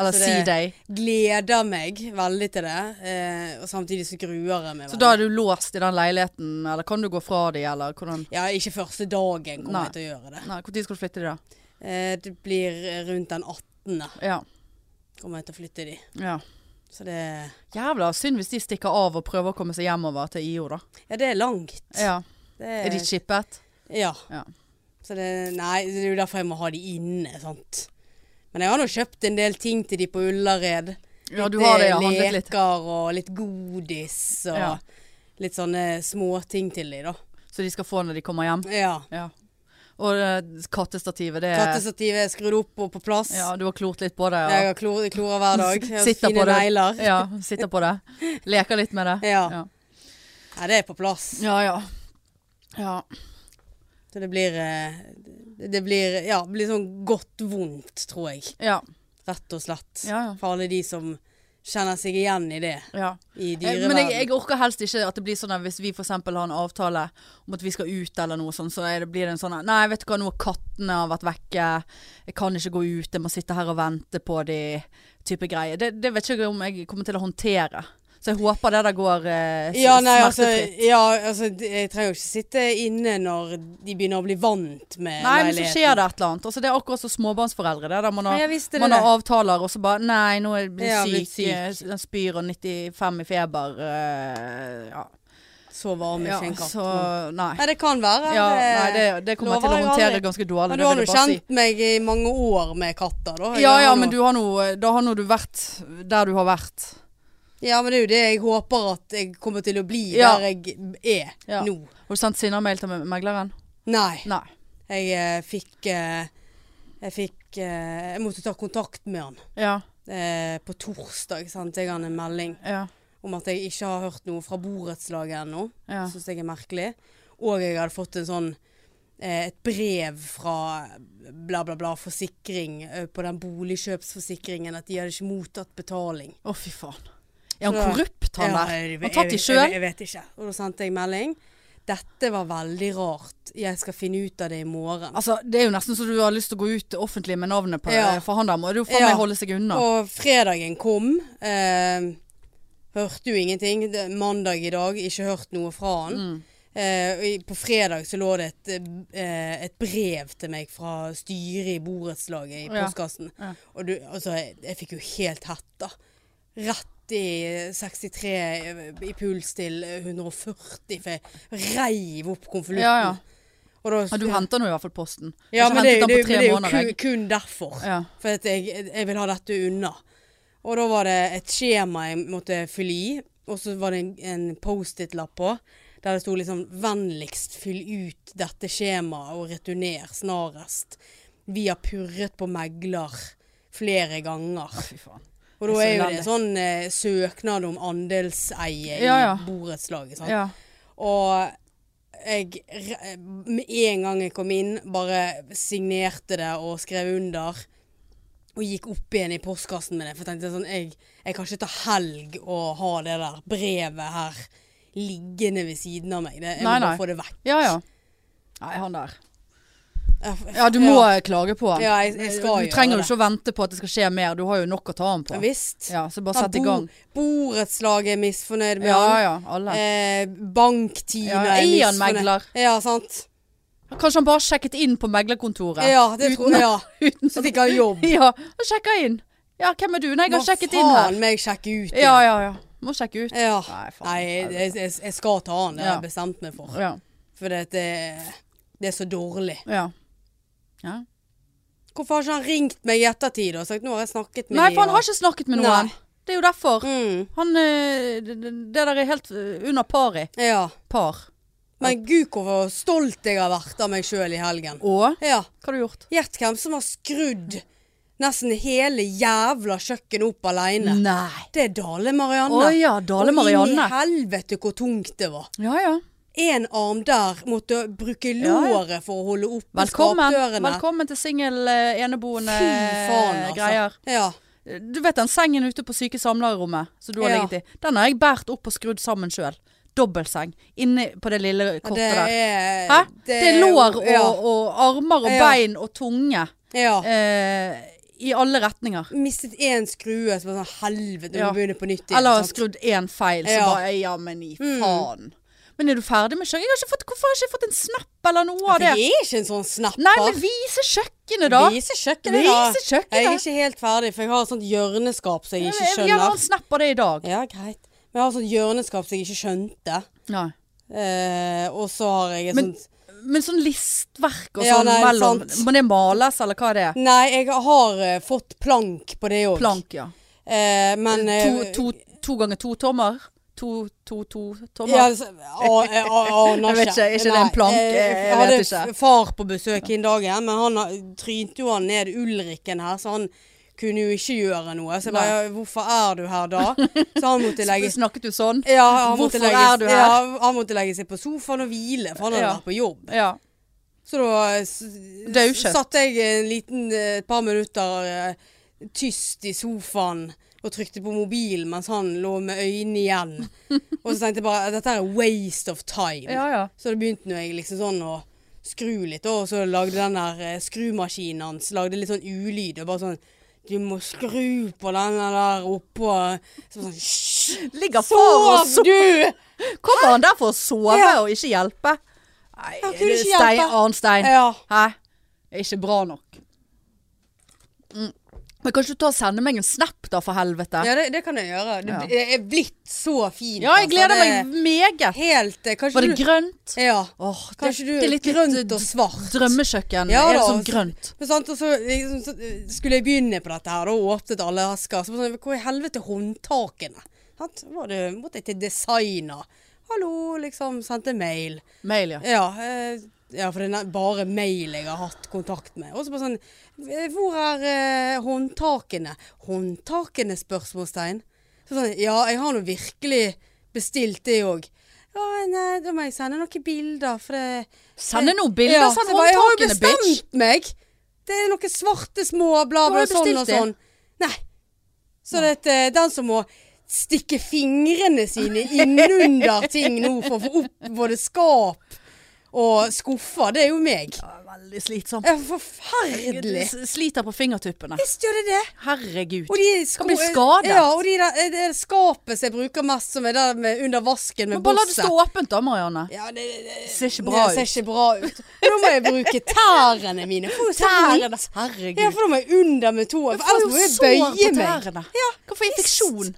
[SPEAKER 1] Eller
[SPEAKER 2] Så det-
[SPEAKER 1] C-day.
[SPEAKER 2] Gleder meg veldig til det, eh, og samtidig så gruer jeg meg.
[SPEAKER 1] Så
[SPEAKER 2] veldig.
[SPEAKER 1] da er du låst i den leiligheten, eller kan du gå fra de, eller hvordan
[SPEAKER 2] Ja, ikke første dagen kommer
[SPEAKER 1] Nei.
[SPEAKER 2] jeg til å gjøre det.
[SPEAKER 1] Nei, Når skal du flytte de, da?
[SPEAKER 2] Eh, det blir rundt den 18.
[SPEAKER 1] Ja.
[SPEAKER 2] kommer jeg til å flytte de.
[SPEAKER 1] ja.
[SPEAKER 2] Så det
[SPEAKER 1] Jævla synd hvis de stikker av og prøver å komme seg hjemover til IO, da.
[SPEAKER 2] Ja, det er langt.
[SPEAKER 1] Ja.
[SPEAKER 2] Det
[SPEAKER 1] Er de chippet?
[SPEAKER 2] Ja.
[SPEAKER 1] Ja.
[SPEAKER 2] Så det, nei, det er jo derfor jeg må ha de inne, sant. Men jeg har nå kjøpt en del ting til de på Ullared.
[SPEAKER 1] Ja, du har det, ja.
[SPEAKER 2] eh,
[SPEAKER 1] Handlet litt.
[SPEAKER 2] Leker og litt godis og
[SPEAKER 1] Ja.
[SPEAKER 2] litt sånne småting til de, da.
[SPEAKER 1] Så de skal få når de kommer hjem?
[SPEAKER 2] Ja.
[SPEAKER 1] Ja. Og øh, kattestativet, det
[SPEAKER 2] Kattestativet er skrudd opp og på plass.
[SPEAKER 1] Ja, du har klort litt på det? Ja.
[SPEAKER 2] Jeg har klor, klorer hver dag. Jeg har
[SPEAKER 1] Sitter på
[SPEAKER 2] Fine
[SPEAKER 1] det.
[SPEAKER 2] negler.
[SPEAKER 1] ja. Sitter på det. Leker litt med det.
[SPEAKER 2] Ja.
[SPEAKER 1] Ja.
[SPEAKER 2] Nei, det er på plass.
[SPEAKER 1] Ja, ja. Ja,
[SPEAKER 2] Så det blir eh, Det det blir, ja, blir sånn godt vondt, tror jeg.
[SPEAKER 1] ja.
[SPEAKER 2] Rett og slett.
[SPEAKER 1] ja, ja.
[SPEAKER 2] For alle de som kjenner seg igjen i det.
[SPEAKER 1] ja.
[SPEAKER 2] I
[SPEAKER 1] Eh,
[SPEAKER 2] dyreverden.
[SPEAKER 1] Men jeg, jeg orker helst ikke at det blir sånn at hvis vi for eksempel har en avtale om at vi skal ut eller noe sånt, så er det, blir det en sånn Nei, vet du hva, nå har kattene har vært vekke. Jeg kan ikke gå ut. Jeg må sitte her og vente på de type greier. Det, det vet ikke jeg om jeg kommer til å håndtere. Så jeg håper det der går eh, s-
[SPEAKER 2] Ja, nei, altså,
[SPEAKER 1] smertefritt.
[SPEAKER 2] ja, altså d- Jeg trenger jo ikke sitte inne når de begynner å bli vant med
[SPEAKER 1] Nei, men så skjer det et eller annet. Altså, det er akkurat som småbarnsforeldre. Det, der man
[SPEAKER 2] Ja,
[SPEAKER 1] har,
[SPEAKER 2] jeg visste det.
[SPEAKER 1] man har avtaler, og så bare Nei, nå er jeg blitt
[SPEAKER 2] Ja,
[SPEAKER 1] syk.
[SPEAKER 2] blitt syk.
[SPEAKER 1] eh, s- Den spyr og 95 i feber. eh, ja.
[SPEAKER 2] Så varm
[SPEAKER 1] ja
[SPEAKER 2] ikke en katt.
[SPEAKER 1] så
[SPEAKER 2] men-
[SPEAKER 1] Nei.
[SPEAKER 2] Nei, det kan være.
[SPEAKER 1] Ja, nei, det, det kommer jeg til
[SPEAKER 2] lover
[SPEAKER 1] å
[SPEAKER 2] jeg
[SPEAKER 1] håndtere
[SPEAKER 2] aldri.
[SPEAKER 1] ganske dårlig.
[SPEAKER 2] men du
[SPEAKER 1] det
[SPEAKER 2] har
[SPEAKER 1] vil
[SPEAKER 2] nå
[SPEAKER 1] jeg bare si.
[SPEAKER 2] kjent meg i mange år med katter, da. Jeg
[SPEAKER 1] Ja, ja,
[SPEAKER 2] har nå- eh,
[SPEAKER 1] men du har nå, da har nå du vært der du har vært.
[SPEAKER 2] Ja, men det er jo det jeg håper at jeg kommer til å bli
[SPEAKER 1] Ja.
[SPEAKER 2] der jeg er
[SPEAKER 1] Ja.
[SPEAKER 2] nå.
[SPEAKER 1] Har du sendt Sinna-mail til me- megleren?
[SPEAKER 2] Nei.
[SPEAKER 1] Nei.
[SPEAKER 2] Jeg eh, fikk eh, Jeg fikk eh, Jeg måtte ta kontakt med han
[SPEAKER 1] Ja.
[SPEAKER 2] eh, på torsdag. Sendte jeg han en melding
[SPEAKER 1] Ja.
[SPEAKER 2] om at jeg ikke har hørt noe fra borettslaget ennå.
[SPEAKER 1] Ja.
[SPEAKER 2] Det syns jeg er merkelig. Og jeg hadde fått en sånn eh, et brev fra bla, bla, bla forsikring eh, på den boligkjøpsforsikringen at de hadde ikke mottatt betaling.
[SPEAKER 1] Å, fy faen. Er han
[SPEAKER 2] Så da-
[SPEAKER 1] korrupt, han
[SPEAKER 2] Ja,
[SPEAKER 1] der?
[SPEAKER 2] jeg-
[SPEAKER 1] Han tatt de
[SPEAKER 2] jeg-
[SPEAKER 1] sjøl?
[SPEAKER 2] Jeg, jeg vet ikke. Og da sendte jeg melding. Dette var veldig rart. Jeg skal finne ut av det i morgen.
[SPEAKER 1] Altså, det er jo nesten så du har lyst til å gå ut offentlig med navnet på eh,
[SPEAKER 2] Ja.
[SPEAKER 1] for han der. Må du jo faen
[SPEAKER 2] Ja.
[SPEAKER 1] meg holde seg unna.
[SPEAKER 2] Og fredagen kom. Eh, hørte jo ingenting. Det, mandag i dag, ikke hørt noe fra han.
[SPEAKER 1] Mm.
[SPEAKER 2] Eh, og i- på fredag så lå det et, eh, et brev til meg fra styret i borettslaget i
[SPEAKER 1] Ja.
[SPEAKER 2] postkassen.
[SPEAKER 1] Ja.
[SPEAKER 2] Og du, altså, jeg, jeg fikk jo helt hetta. Rett i 63 i puls til 140, for jeg reiv opp konvolutten.
[SPEAKER 1] Ja, ja.
[SPEAKER 2] Og da,
[SPEAKER 1] Ja, du henter nå i hvert fall posten. Du
[SPEAKER 2] Ja,
[SPEAKER 1] har ikke
[SPEAKER 2] men det,
[SPEAKER 1] hentet
[SPEAKER 2] det,
[SPEAKER 1] den på
[SPEAKER 2] men
[SPEAKER 1] tre
[SPEAKER 2] det er jo
[SPEAKER 1] måneder,
[SPEAKER 2] kun,
[SPEAKER 1] jeg.
[SPEAKER 2] kun derfor.
[SPEAKER 1] Ja.
[SPEAKER 2] For at jeg, jeg vil ha dette unna. Og da var det et skjema jeg måtte fylle i, og så var det en, en Post-It-lapp på. Der det sto liksom 'vennligst fyll ut dette skjemaet og returner snarest'. Vi har purret på megler flere ganger.
[SPEAKER 1] Å, Fy faen.
[SPEAKER 2] Og da
[SPEAKER 1] Det er så
[SPEAKER 2] er jo
[SPEAKER 1] elendig.
[SPEAKER 2] det sånn eh, søknad om andelseie
[SPEAKER 1] Ja, ja.
[SPEAKER 2] i borettslaget. sant?
[SPEAKER 1] Ja.
[SPEAKER 2] Og jeg re- med en gang jeg kom inn, bare signerte det og skrev under. Og gikk opp igjen i postkassen med det. For jeg tenkte sånn, jeg, jeg kan ikke ta helg og ha det der brevet her liggende ved siden av meg. Det, jeg må
[SPEAKER 1] Nei, nei.
[SPEAKER 2] bare få det vekk.
[SPEAKER 1] ja, ja. Nei, han der.
[SPEAKER 2] Jeg-
[SPEAKER 1] Ja, du må eh, klage på han.
[SPEAKER 2] Ja, jeg, jeg skal
[SPEAKER 1] du trenger jo
[SPEAKER 2] gjøre det.
[SPEAKER 1] ikke å vente på at det skal skje mer, du har jo nok å ta han på.
[SPEAKER 2] Ja, visst.
[SPEAKER 1] Ja, så bare
[SPEAKER 2] Han
[SPEAKER 1] sett i
[SPEAKER 2] bo-
[SPEAKER 1] gang.
[SPEAKER 2] Borettslaget er misfornøyd med
[SPEAKER 1] Ja,
[SPEAKER 2] han.
[SPEAKER 1] ja, alle.
[SPEAKER 2] Eh, Banktina
[SPEAKER 1] Ja,
[SPEAKER 2] er
[SPEAKER 1] er han
[SPEAKER 2] misfornøyd.
[SPEAKER 1] megler?
[SPEAKER 2] Ja, sant.
[SPEAKER 1] Kanskje han bare sjekket inn på meglerkontoret?
[SPEAKER 2] Ja, det tror jeg. Ja.
[SPEAKER 1] Uten
[SPEAKER 2] Så fikk han jobb.
[SPEAKER 1] Ja, han sjekka inn. Ja, hvem er du? Nei, jeg har sjekket inn
[SPEAKER 2] Må
[SPEAKER 1] her.
[SPEAKER 2] faen meg sjekke ut.
[SPEAKER 1] Ja, ja, ja. Må sjekke ut.
[SPEAKER 2] Ja.
[SPEAKER 1] Nei, faen.
[SPEAKER 2] Nei, jeg, jeg, jeg skal ta han, det har
[SPEAKER 1] Ja.
[SPEAKER 2] jeg bestemt meg for.
[SPEAKER 1] Ja.
[SPEAKER 2] For det, det, det er så dårlig.
[SPEAKER 1] Ja. ja.
[SPEAKER 2] Hvorfor har ikke han ringt meg i ettertid og sagt 'nå har jeg snakket med
[SPEAKER 1] Nei,
[SPEAKER 2] de,
[SPEAKER 1] for han
[SPEAKER 2] og-
[SPEAKER 1] har ikke snakket med noen.
[SPEAKER 2] Nei.
[SPEAKER 1] Det er jo derfor.
[SPEAKER 2] mm,
[SPEAKER 1] Han eh, Det det- det der er helt eh, under par i.
[SPEAKER 2] Ja.
[SPEAKER 1] Par.
[SPEAKER 2] Men gud, hvor stolt jeg har vært av meg sjøl i helgen.
[SPEAKER 1] Og
[SPEAKER 2] Ja.
[SPEAKER 1] Hva har du gjort?
[SPEAKER 2] Gjett hvem som har skrudd nesten hele jævla kjøkkenet opp aleine.
[SPEAKER 1] Nei.
[SPEAKER 2] Det er Dale Marianne.
[SPEAKER 1] Å ja, Mm. Dale
[SPEAKER 2] Og
[SPEAKER 1] Marianne.
[SPEAKER 2] i helvete hvor tungt det var.
[SPEAKER 1] Ja ja.
[SPEAKER 2] En arm der måtte bruke
[SPEAKER 1] ja.
[SPEAKER 2] låret for å holde oppe
[SPEAKER 1] Velkommen.
[SPEAKER 2] skapdørene.
[SPEAKER 1] Velkommen til singel eh, eneboende
[SPEAKER 2] Fy faen, altså.
[SPEAKER 1] greier.
[SPEAKER 2] Ja.
[SPEAKER 1] Du vet den sengen ute på syke samlerrommet som du har
[SPEAKER 2] Ja.
[SPEAKER 1] ligget i? Den har jeg båret opp og skrudd sammen sjøl. Dobbeltseng. Inne på det lille kortet der.
[SPEAKER 2] er
[SPEAKER 1] Hæ? Det er lår og,
[SPEAKER 2] ja.
[SPEAKER 1] og armer og
[SPEAKER 2] Ja.
[SPEAKER 1] bein og tunge
[SPEAKER 2] ja.
[SPEAKER 1] eh, i alle retninger.
[SPEAKER 2] Mistet én skrue, så var det sånn helvete, vi
[SPEAKER 1] Ja.
[SPEAKER 2] må begynne på nytt igjen. Sånn,
[SPEAKER 1] Eller har
[SPEAKER 2] sant?
[SPEAKER 1] skrudd én feil, så
[SPEAKER 2] Ja. Mm.
[SPEAKER 1] bare ja, men i faen. Men er du ferdig med kjøkkenet? Jeg har ikke fått, hvorfor har jeg ikke fått en snap eller noe av
[SPEAKER 2] For
[SPEAKER 1] det?
[SPEAKER 2] det er ikke en sånn snapper.
[SPEAKER 1] Nei, men vise kjøkkenet, da!
[SPEAKER 2] Vise kjøkkenet, da.
[SPEAKER 1] Vise
[SPEAKER 2] Jeg er
[SPEAKER 1] kjøkkenet!
[SPEAKER 2] ikke helt ferdig, for jeg har et sånt hjørneskap som jeg
[SPEAKER 1] Jeg
[SPEAKER 2] ikke
[SPEAKER 1] vil gjerne ha
[SPEAKER 2] skjønner.
[SPEAKER 1] en snap av det i dag.
[SPEAKER 2] Ja, greit. Men jeg har et sånt hjørneskap som jeg ikke skjønte.
[SPEAKER 1] Nei.
[SPEAKER 2] Eh, og så har jeg et
[SPEAKER 1] Men-
[SPEAKER 2] sånt
[SPEAKER 1] Men sånn listverk og sånn
[SPEAKER 2] Ja, nei,
[SPEAKER 1] mellom
[SPEAKER 2] sant.
[SPEAKER 1] Må det males, eller hva det er?
[SPEAKER 2] Nei, jeg har eh, fått plank på det òg.
[SPEAKER 1] Plank, ja.
[SPEAKER 2] Eh, men
[SPEAKER 1] To,
[SPEAKER 2] eh,
[SPEAKER 1] to, to ganger to tommer? To, to, to tommer?
[SPEAKER 2] Ja, altså, å- jeg aner
[SPEAKER 1] Jeg vet ikke, er ikke det en
[SPEAKER 2] Nei.
[SPEAKER 1] plank?
[SPEAKER 2] Eh,
[SPEAKER 1] Jeg vet
[SPEAKER 2] hadde
[SPEAKER 1] ikke.
[SPEAKER 2] f- far på besøk en dag, ja, men han har- trynte jo han ned Ulrikken her, så han kunne jo ikke gjøre noe. Så jeg bare, ja, hvorfor er du her da? Så han måtte legge
[SPEAKER 1] Snakket du sånn?
[SPEAKER 2] ja, han måtte
[SPEAKER 1] Hvorfor
[SPEAKER 2] legge,
[SPEAKER 1] er du her?
[SPEAKER 2] Ja, han måtte legge seg på sofaen og hvile, for han hadde
[SPEAKER 1] Ja.
[SPEAKER 2] vært på jobb.
[SPEAKER 1] Ja.
[SPEAKER 2] Så da eh, s-
[SPEAKER 1] Dauskjøtt.
[SPEAKER 2] satt jeg en liten, eh, et par minutter eh, tyst i sofaen og trykte på mobilen mens han lå med øynene igjen. Og så tenkte jeg bare dette er waste of time.
[SPEAKER 1] Ja, ja.
[SPEAKER 2] Så da begynte nå jeg liksom sånn å skru litt, og så lagde den der eh, skrumaskinen hans lagde litt sånn ulyd. og bare sånn du må skru på den der oppå Så sånn Hysj!
[SPEAKER 1] Ligger far og
[SPEAKER 2] Sov,
[SPEAKER 1] sover?
[SPEAKER 2] du!
[SPEAKER 1] Kommer han der for å sove
[SPEAKER 2] Ja.
[SPEAKER 1] og ikke hjelpe? Nei,
[SPEAKER 2] Han kunne
[SPEAKER 1] det er
[SPEAKER 2] ikke
[SPEAKER 1] Stein,
[SPEAKER 2] hjelpe.
[SPEAKER 1] Arnstein.
[SPEAKER 2] Ja.
[SPEAKER 1] Hæ? Det er ikke bra nok. Mm. Men kan ikke du ta og sende meg en snap, da, for helvete?
[SPEAKER 2] Ja, det, det kan jeg gjøre. Det,
[SPEAKER 1] Ja.
[SPEAKER 2] det er blitt så fint.
[SPEAKER 1] Ja, jeg
[SPEAKER 2] altså.
[SPEAKER 1] gleder
[SPEAKER 2] Det-
[SPEAKER 1] meg meget.
[SPEAKER 2] Helt eh, Kanskje
[SPEAKER 1] Var det
[SPEAKER 2] du
[SPEAKER 1] grønt?
[SPEAKER 2] Ja.
[SPEAKER 1] Åh, det,
[SPEAKER 2] Kanskje du
[SPEAKER 1] det er litt
[SPEAKER 2] grønt
[SPEAKER 1] eh,
[SPEAKER 2] og svart.
[SPEAKER 1] Drømmekjøkken
[SPEAKER 2] Ja, da,
[SPEAKER 1] er det sånn
[SPEAKER 2] så-
[SPEAKER 1] grønt.
[SPEAKER 2] Men sant, og så, liksom, så eh, skulle jeg begynne på dette her, da, og åpnet alle esker. Så var det sånn, Hvor i helvete er håndtakene? Sant? Var det, måtte jeg til designer? Hallo, liksom. Sendte mail.
[SPEAKER 1] Mail, ja.
[SPEAKER 2] Ja, eh, ja for det er ne- bare mail jeg har hatt kontakt med. Og så bare sånn eh, Hvor er eh, håndtakene? Håndtakene? spørsmålstegn. Så sånn, ja, jeg har nå virkelig bestilt det òg. Ja, nei, da må jeg sende noen bilder, for det
[SPEAKER 1] Send noen bilder,
[SPEAKER 2] Ja,
[SPEAKER 1] send
[SPEAKER 2] så bare, Jeg
[SPEAKER 1] håndtakene,
[SPEAKER 2] har jo
[SPEAKER 1] bitch.
[SPEAKER 2] bestemt meg! Det er noen svarte små bla,
[SPEAKER 1] Du
[SPEAKER 2] bla,
[SPEAKER 1] har
[SPEAKER 2] sånn
[SPEAKER 1] jo
[SPEAKER 2] og
[SPEAKER 1] bestilt det.
[SPEAKER 2] sånn. Nei. Så det, er et, eh, den som må stikke fingrene sine innunder ting nå for å få opp både skap og skuffer, det er jo meg.
[SPEAKER 1] Ja, Veldig slitsom.
[SPEAKER 2] Det er forferdelig.
[SPEAKER 1] S- Sliter på fingertuppene.
[SPEAKER 2] Visst gjør det det.
[SPEAKER 1] Herregud.
[SPEAKER 2] Og de sko-
[SPEAKER 1] Kan bli skadet.
[SPEAKER 2] Ja, og de der, eh, det er skapet som jeg bruker mest, som er der med, under vasken med
[SPEAKER 1] Men bare la det
[SPEAKER 2] bosset.
[SPEAKER 1] stå åpent da, Marianne.
[SPEAKER 2] Ja, det, det, det
[SPEAKER 1] Ser ikke bra
[SPEAKER 2] det ser ikke bra ut. Og da må jeg bruke tærne mine. sånn For tærne.
[SPEAKER 1] Herregud.
[SPEAKER 2] Ja, for da må jeg under med tåa.
[SPEAKER 1] Jeg
[SPEAKER 2] For
[SPEAKER 1] får
[SPEAKER 2] ellers
[SPEAKER 1] jo
[SPEAKER 2] må jeg
[SPEAKER 1] sår
[SPEAKER 2] bøye
[SPEAKER 1] på
[SPEAKER 2] meg.
[SPEAKER 1] tærne.
[SPEAKER 2] Ja,
[SPEAKER 1] Hva for infeksjon?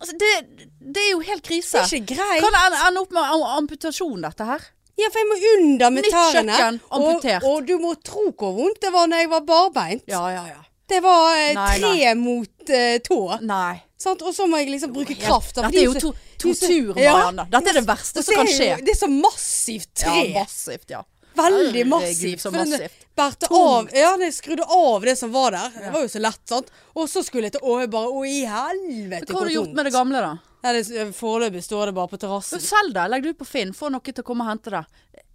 [SPEAKER 1] Altså, det, det er jo helt
[SPEAKER 2] Det
[SPEAKER 1] krise.
[SPEAKER 2] er ikke greit.
[SPEAKER 1] Kan det ende- ende opp med am- amputasjon, dette her?
[SPEAKER 2] Ja, for jeg må under med
[SPEAKER 1] Nytt
[SPEAKER 2] tærne.
[SPEAKER 1] kjøkken, amputert.
[SPEAKER 2] Og, og du må tro hvor vondt det var når jeg var barbeint.
[SPEAKER 1] ja, ja.
[SPEAKER 2] Det var eh,
[SPEAKER 1] Nei,
[SPEAKER 2] tre mot eh, tå.
[SPEAKER 1] Nei.
[SPEAKER 2] Sant? Og så må jeg liksom bruke kraft. da, for
[SPEAKER 1] Dette er jo
[SPEAKER 2] de
[SPEAKER 1] to,
[SPEAKER 2] de som-
[SPEAKER 1] tortur,
[SPEAKER 2] Ja.
[SPEAKER 1] Marianne. Dette er det verste
[SPEAKER 2] Og
[SPEAKER 1] som kan
[SPEAKER 2] er
[SPEAKER 1] skje.
[SPEAKER 2] jo- Det er så massivt tre.
[SPEAKER 1] Ja, massivt, ja.
[SPEAKER 2] Veldig
[SPEAKER 1] Herregud,
[SPEAKER 2] massivt.
[SPEAKER 1] så
[SPEAKER 2] for den
[SPEAKER 1] massivt.
[SPEAKER 2] Bærte av,
[SPEAKER 1] Tungt.
[SPEAKER 2] ja, den skrudde av det som var der. Det var jo så lett, sant. Og så skulle jeg til Åhe bare Å, i helvete,
[SPEAKER 1] Hva har du gjort med det
[SPEAKER 2] tungt.
[SPEAKER 1] gamle, da?
[SPEAKER 2] Nei, det- Foreløpig står det bare på
[SPEAKER 1] Du,
[SPEAKER 2] terrassen.
[SPEAKER 1] Selg det. Legg det ut på Finn. Få noen til å komme og hente det.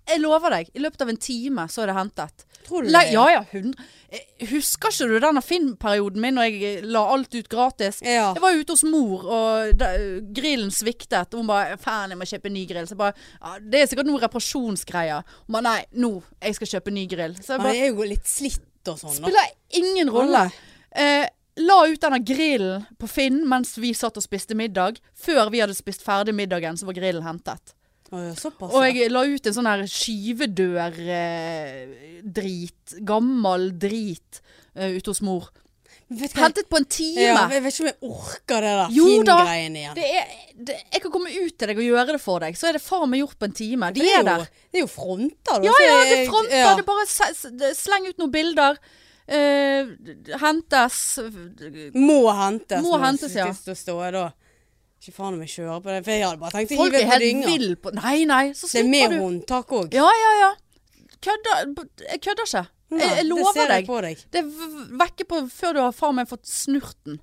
[SPEAKER 1] Jeg lover deg, i løpet av en time så er det hentet.
[SPEAKER 2] Tror du
[SPEAKER 1] Le
[SPEAKER 2] det?
[SPEAKER 1] ja ja, hun Eh, Husker ikke du denne Finn-perioden min når jeg la alt ut gratis?
[SPEAKER 2] Ja.
[SPEAKER 1] Jeg var ute hos mor, og da, grillen sviktet. Og hun bare 'Faen, jeg må kjøpe en ny grill'. Så jeg bare ja, 'Det er sikkert noen reparasjonsgreier'. Hun bare 'Nei, nå. Jeg skal kjøpe en ny grill'. Så jeg
[SPEAKER 2] Han
[SPEAKER 1] bare
[SPEAKER 2] er jo litt slitt og sånn. da.
[SPEAKER 1] spiller ingen rolle. Eh, la ut denne grillen på Finn mens vi satt og spiste middag. Før vi hadde spist ferdig middagen, så var grillen hentet.
[SPEAKER 2] Å, ja, Såpass.
[SPEAKER 1] Og
[SPEAKER 2] ja.
[SPEAKER 1] jeg la ut en sånn her skyvedør-drit. gammel drit eh, ute hos mor.
[SPEAKER 2] vet du hva,
[SPEAKER 1] Hentet på en time.
[SPEAKER 2] ja, jeg vet ikke om jeg orker det der
[SPEAKER 1] Jo da.
[SPEAKER 2] Finn-greien igjen.
[SPEAKER 1] det er, det, jeg kan komme ut til deg og gjøre det for deg. Så er det faen meg gjort på en time. De
[SPEAKER 2] Det
[SPEAKER 1] er
[SPEAKER 2] jo-
[SPEAKER 1] der.
[SPEAKER 2] Det er jo fronter, da.
[SPEAKER 1] Ja
[SPEAKER 2] så
[SPEAKER 1] ja,
[SPEAKER 2] jeg-
[SPEAKER 1] det fronter.
[SPEAKER 2] ja.
[SPEAKER 1] Det er bare se- se- det- sleng ut noen bilder. Eh, eh, hentes
[SPEAKER 2] Må hentes.
[SPEAKER 1] Må
[SPEAKER 2] når
[SPEAKER 1] hentes, ja.
[SPEAKER 2] sykest å Stå, da. Ikke faen om jeg kjører på det, for jeg hadde bare tenkt å
[SPEAKER 1] Folk
[SPEAKER 2] hive
[SPEAKER 1] er
[SPEAKER 2] på
[SPEAKER 1] helt
[SPEAKER 2] dynga.
[SPEAKER 1] vill på Nei, nei, så
[SPEAKER 2] Det er
[SPEAKER 1] slipper
[SPEAKER 2] med
[SPEAKER 1] du.
[SPEAKER 2] håndtak òg.
[SPEAKER 1] Ja, ja, ja. Kødder Jeg kødder ikke. Jeg, jeg
[SPEAKER 2] det ser
[SPEAKER 1] lover
[SPEAKER 2] jeg
[SPEAKER 1] deg.
[SPEAKER 2] på deg.
[SPEAKER 1] Det er v- vekke på før du har faen meg fått snurten.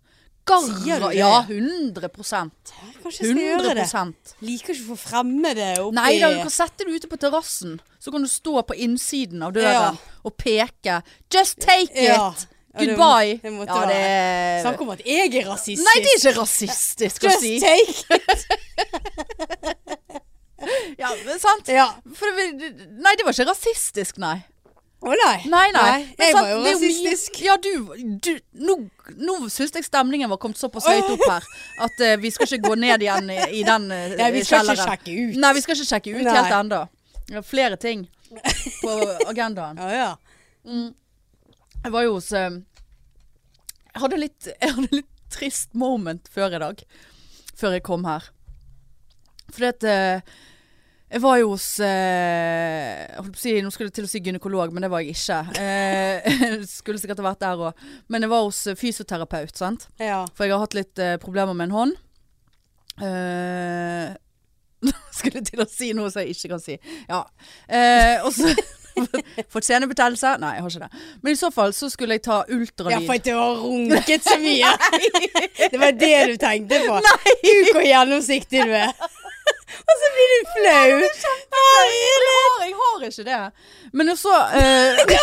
[SPEAKER 2] Sier du
[SPEAKER 1] Garra
[SPEAKER 2] det?
[SPEAKER 1] Ja, 100 100
[SPEAKER 2] Ja, Kanskje jeg skal gjøre det. Liker ikke å få fremme det oppi
[SPEAKER 1] Nei da, du kan sette det ute på terrassen. Så kan du stå på innsiden av døren
[SPEAKER 2] Ja.
[SPEAKER 1] og peke. Just take it!
[SPEAKER 2] Ja. Ja, det må-
[SPEAKER 1] Goodbye!
[SPEAKER 2] det måtte
[SPEAKER 1] ja, det er
[SPEAKER 2] Snakk om at jeg er rasistisk.
[SPEAKER 1] Nei, det er ikke rasistisk å
[SPEAKER 2] Just
[SPEAKER 1] si.
[SPEAKER 2] take
[SPEAKER 1] Ja, det er sant?
[SPEAKER 2] Ja.
[SPEAKER 1] For det, vil- nei, det var ikke rasistisk, nei.
[SPEAKER 2] Å nei.
[SPEAKER 1] Nei, nei. Men
[SPEAKER 2] jeg
[SPEAKER 1] sant,
[SPEAKER 2] var jo
[SPEAKER 1] det er mye-
[SPEAKER 2] rasistisk.
[SPEAKER 1] Ja, du, du Nå, nå syns jeg stemningen var kommet såpass høyt opp her at eh, vi skal ikke gå ned igjen i, i den uh,
[SPEAKER 2] Nei, vi skal ikke sjekke ut.
[SPEAKER 1] Nei, vi skal ikke sjekke ut
[SPEAKER 2] Nei.
[SPEAKER 1] helt ennå. Det er flere ting på agendaen.
[SPEAKER 2] Ja, ja.
[SPEAKER 1] Jeg var jo hos eh, Jeg hadde litt, jeg hadde litt trist moment før i dag. Før jeg kom her. Fordi at eh, Jeg var jo hos eh, jeg holdt på å si, Nå skulle jeg til å si gynekolog, men det var jeg ikke. Eh, skulle sikkert ha vært der òg. Men jeg var hos eh, fysioterapeut, sant.
[SPEAKER 2] ja.
[SPEAKER 1] For jeg har hatt litt eh, problemer med en hånd. Eh, skulle til å si noe som jeg ikke kan si. Ja. Eh, og så Fått senebetennelse? Nei, jeg har ikke det. Men i så fall så skulle jeg ta
[SPEAKER 2] Ja,
[SPEAKER 1] ultralyd.
[SPEAKER 2] for at du har runket så mye. det var det du tenkte på. Nei. Gud, hvor gjennomsiktig du er. Og så blir du flau.
[SPEAKER 1] jeg, har, jeg har ikke det. Men så eh,
[SPEAKER 2] Det har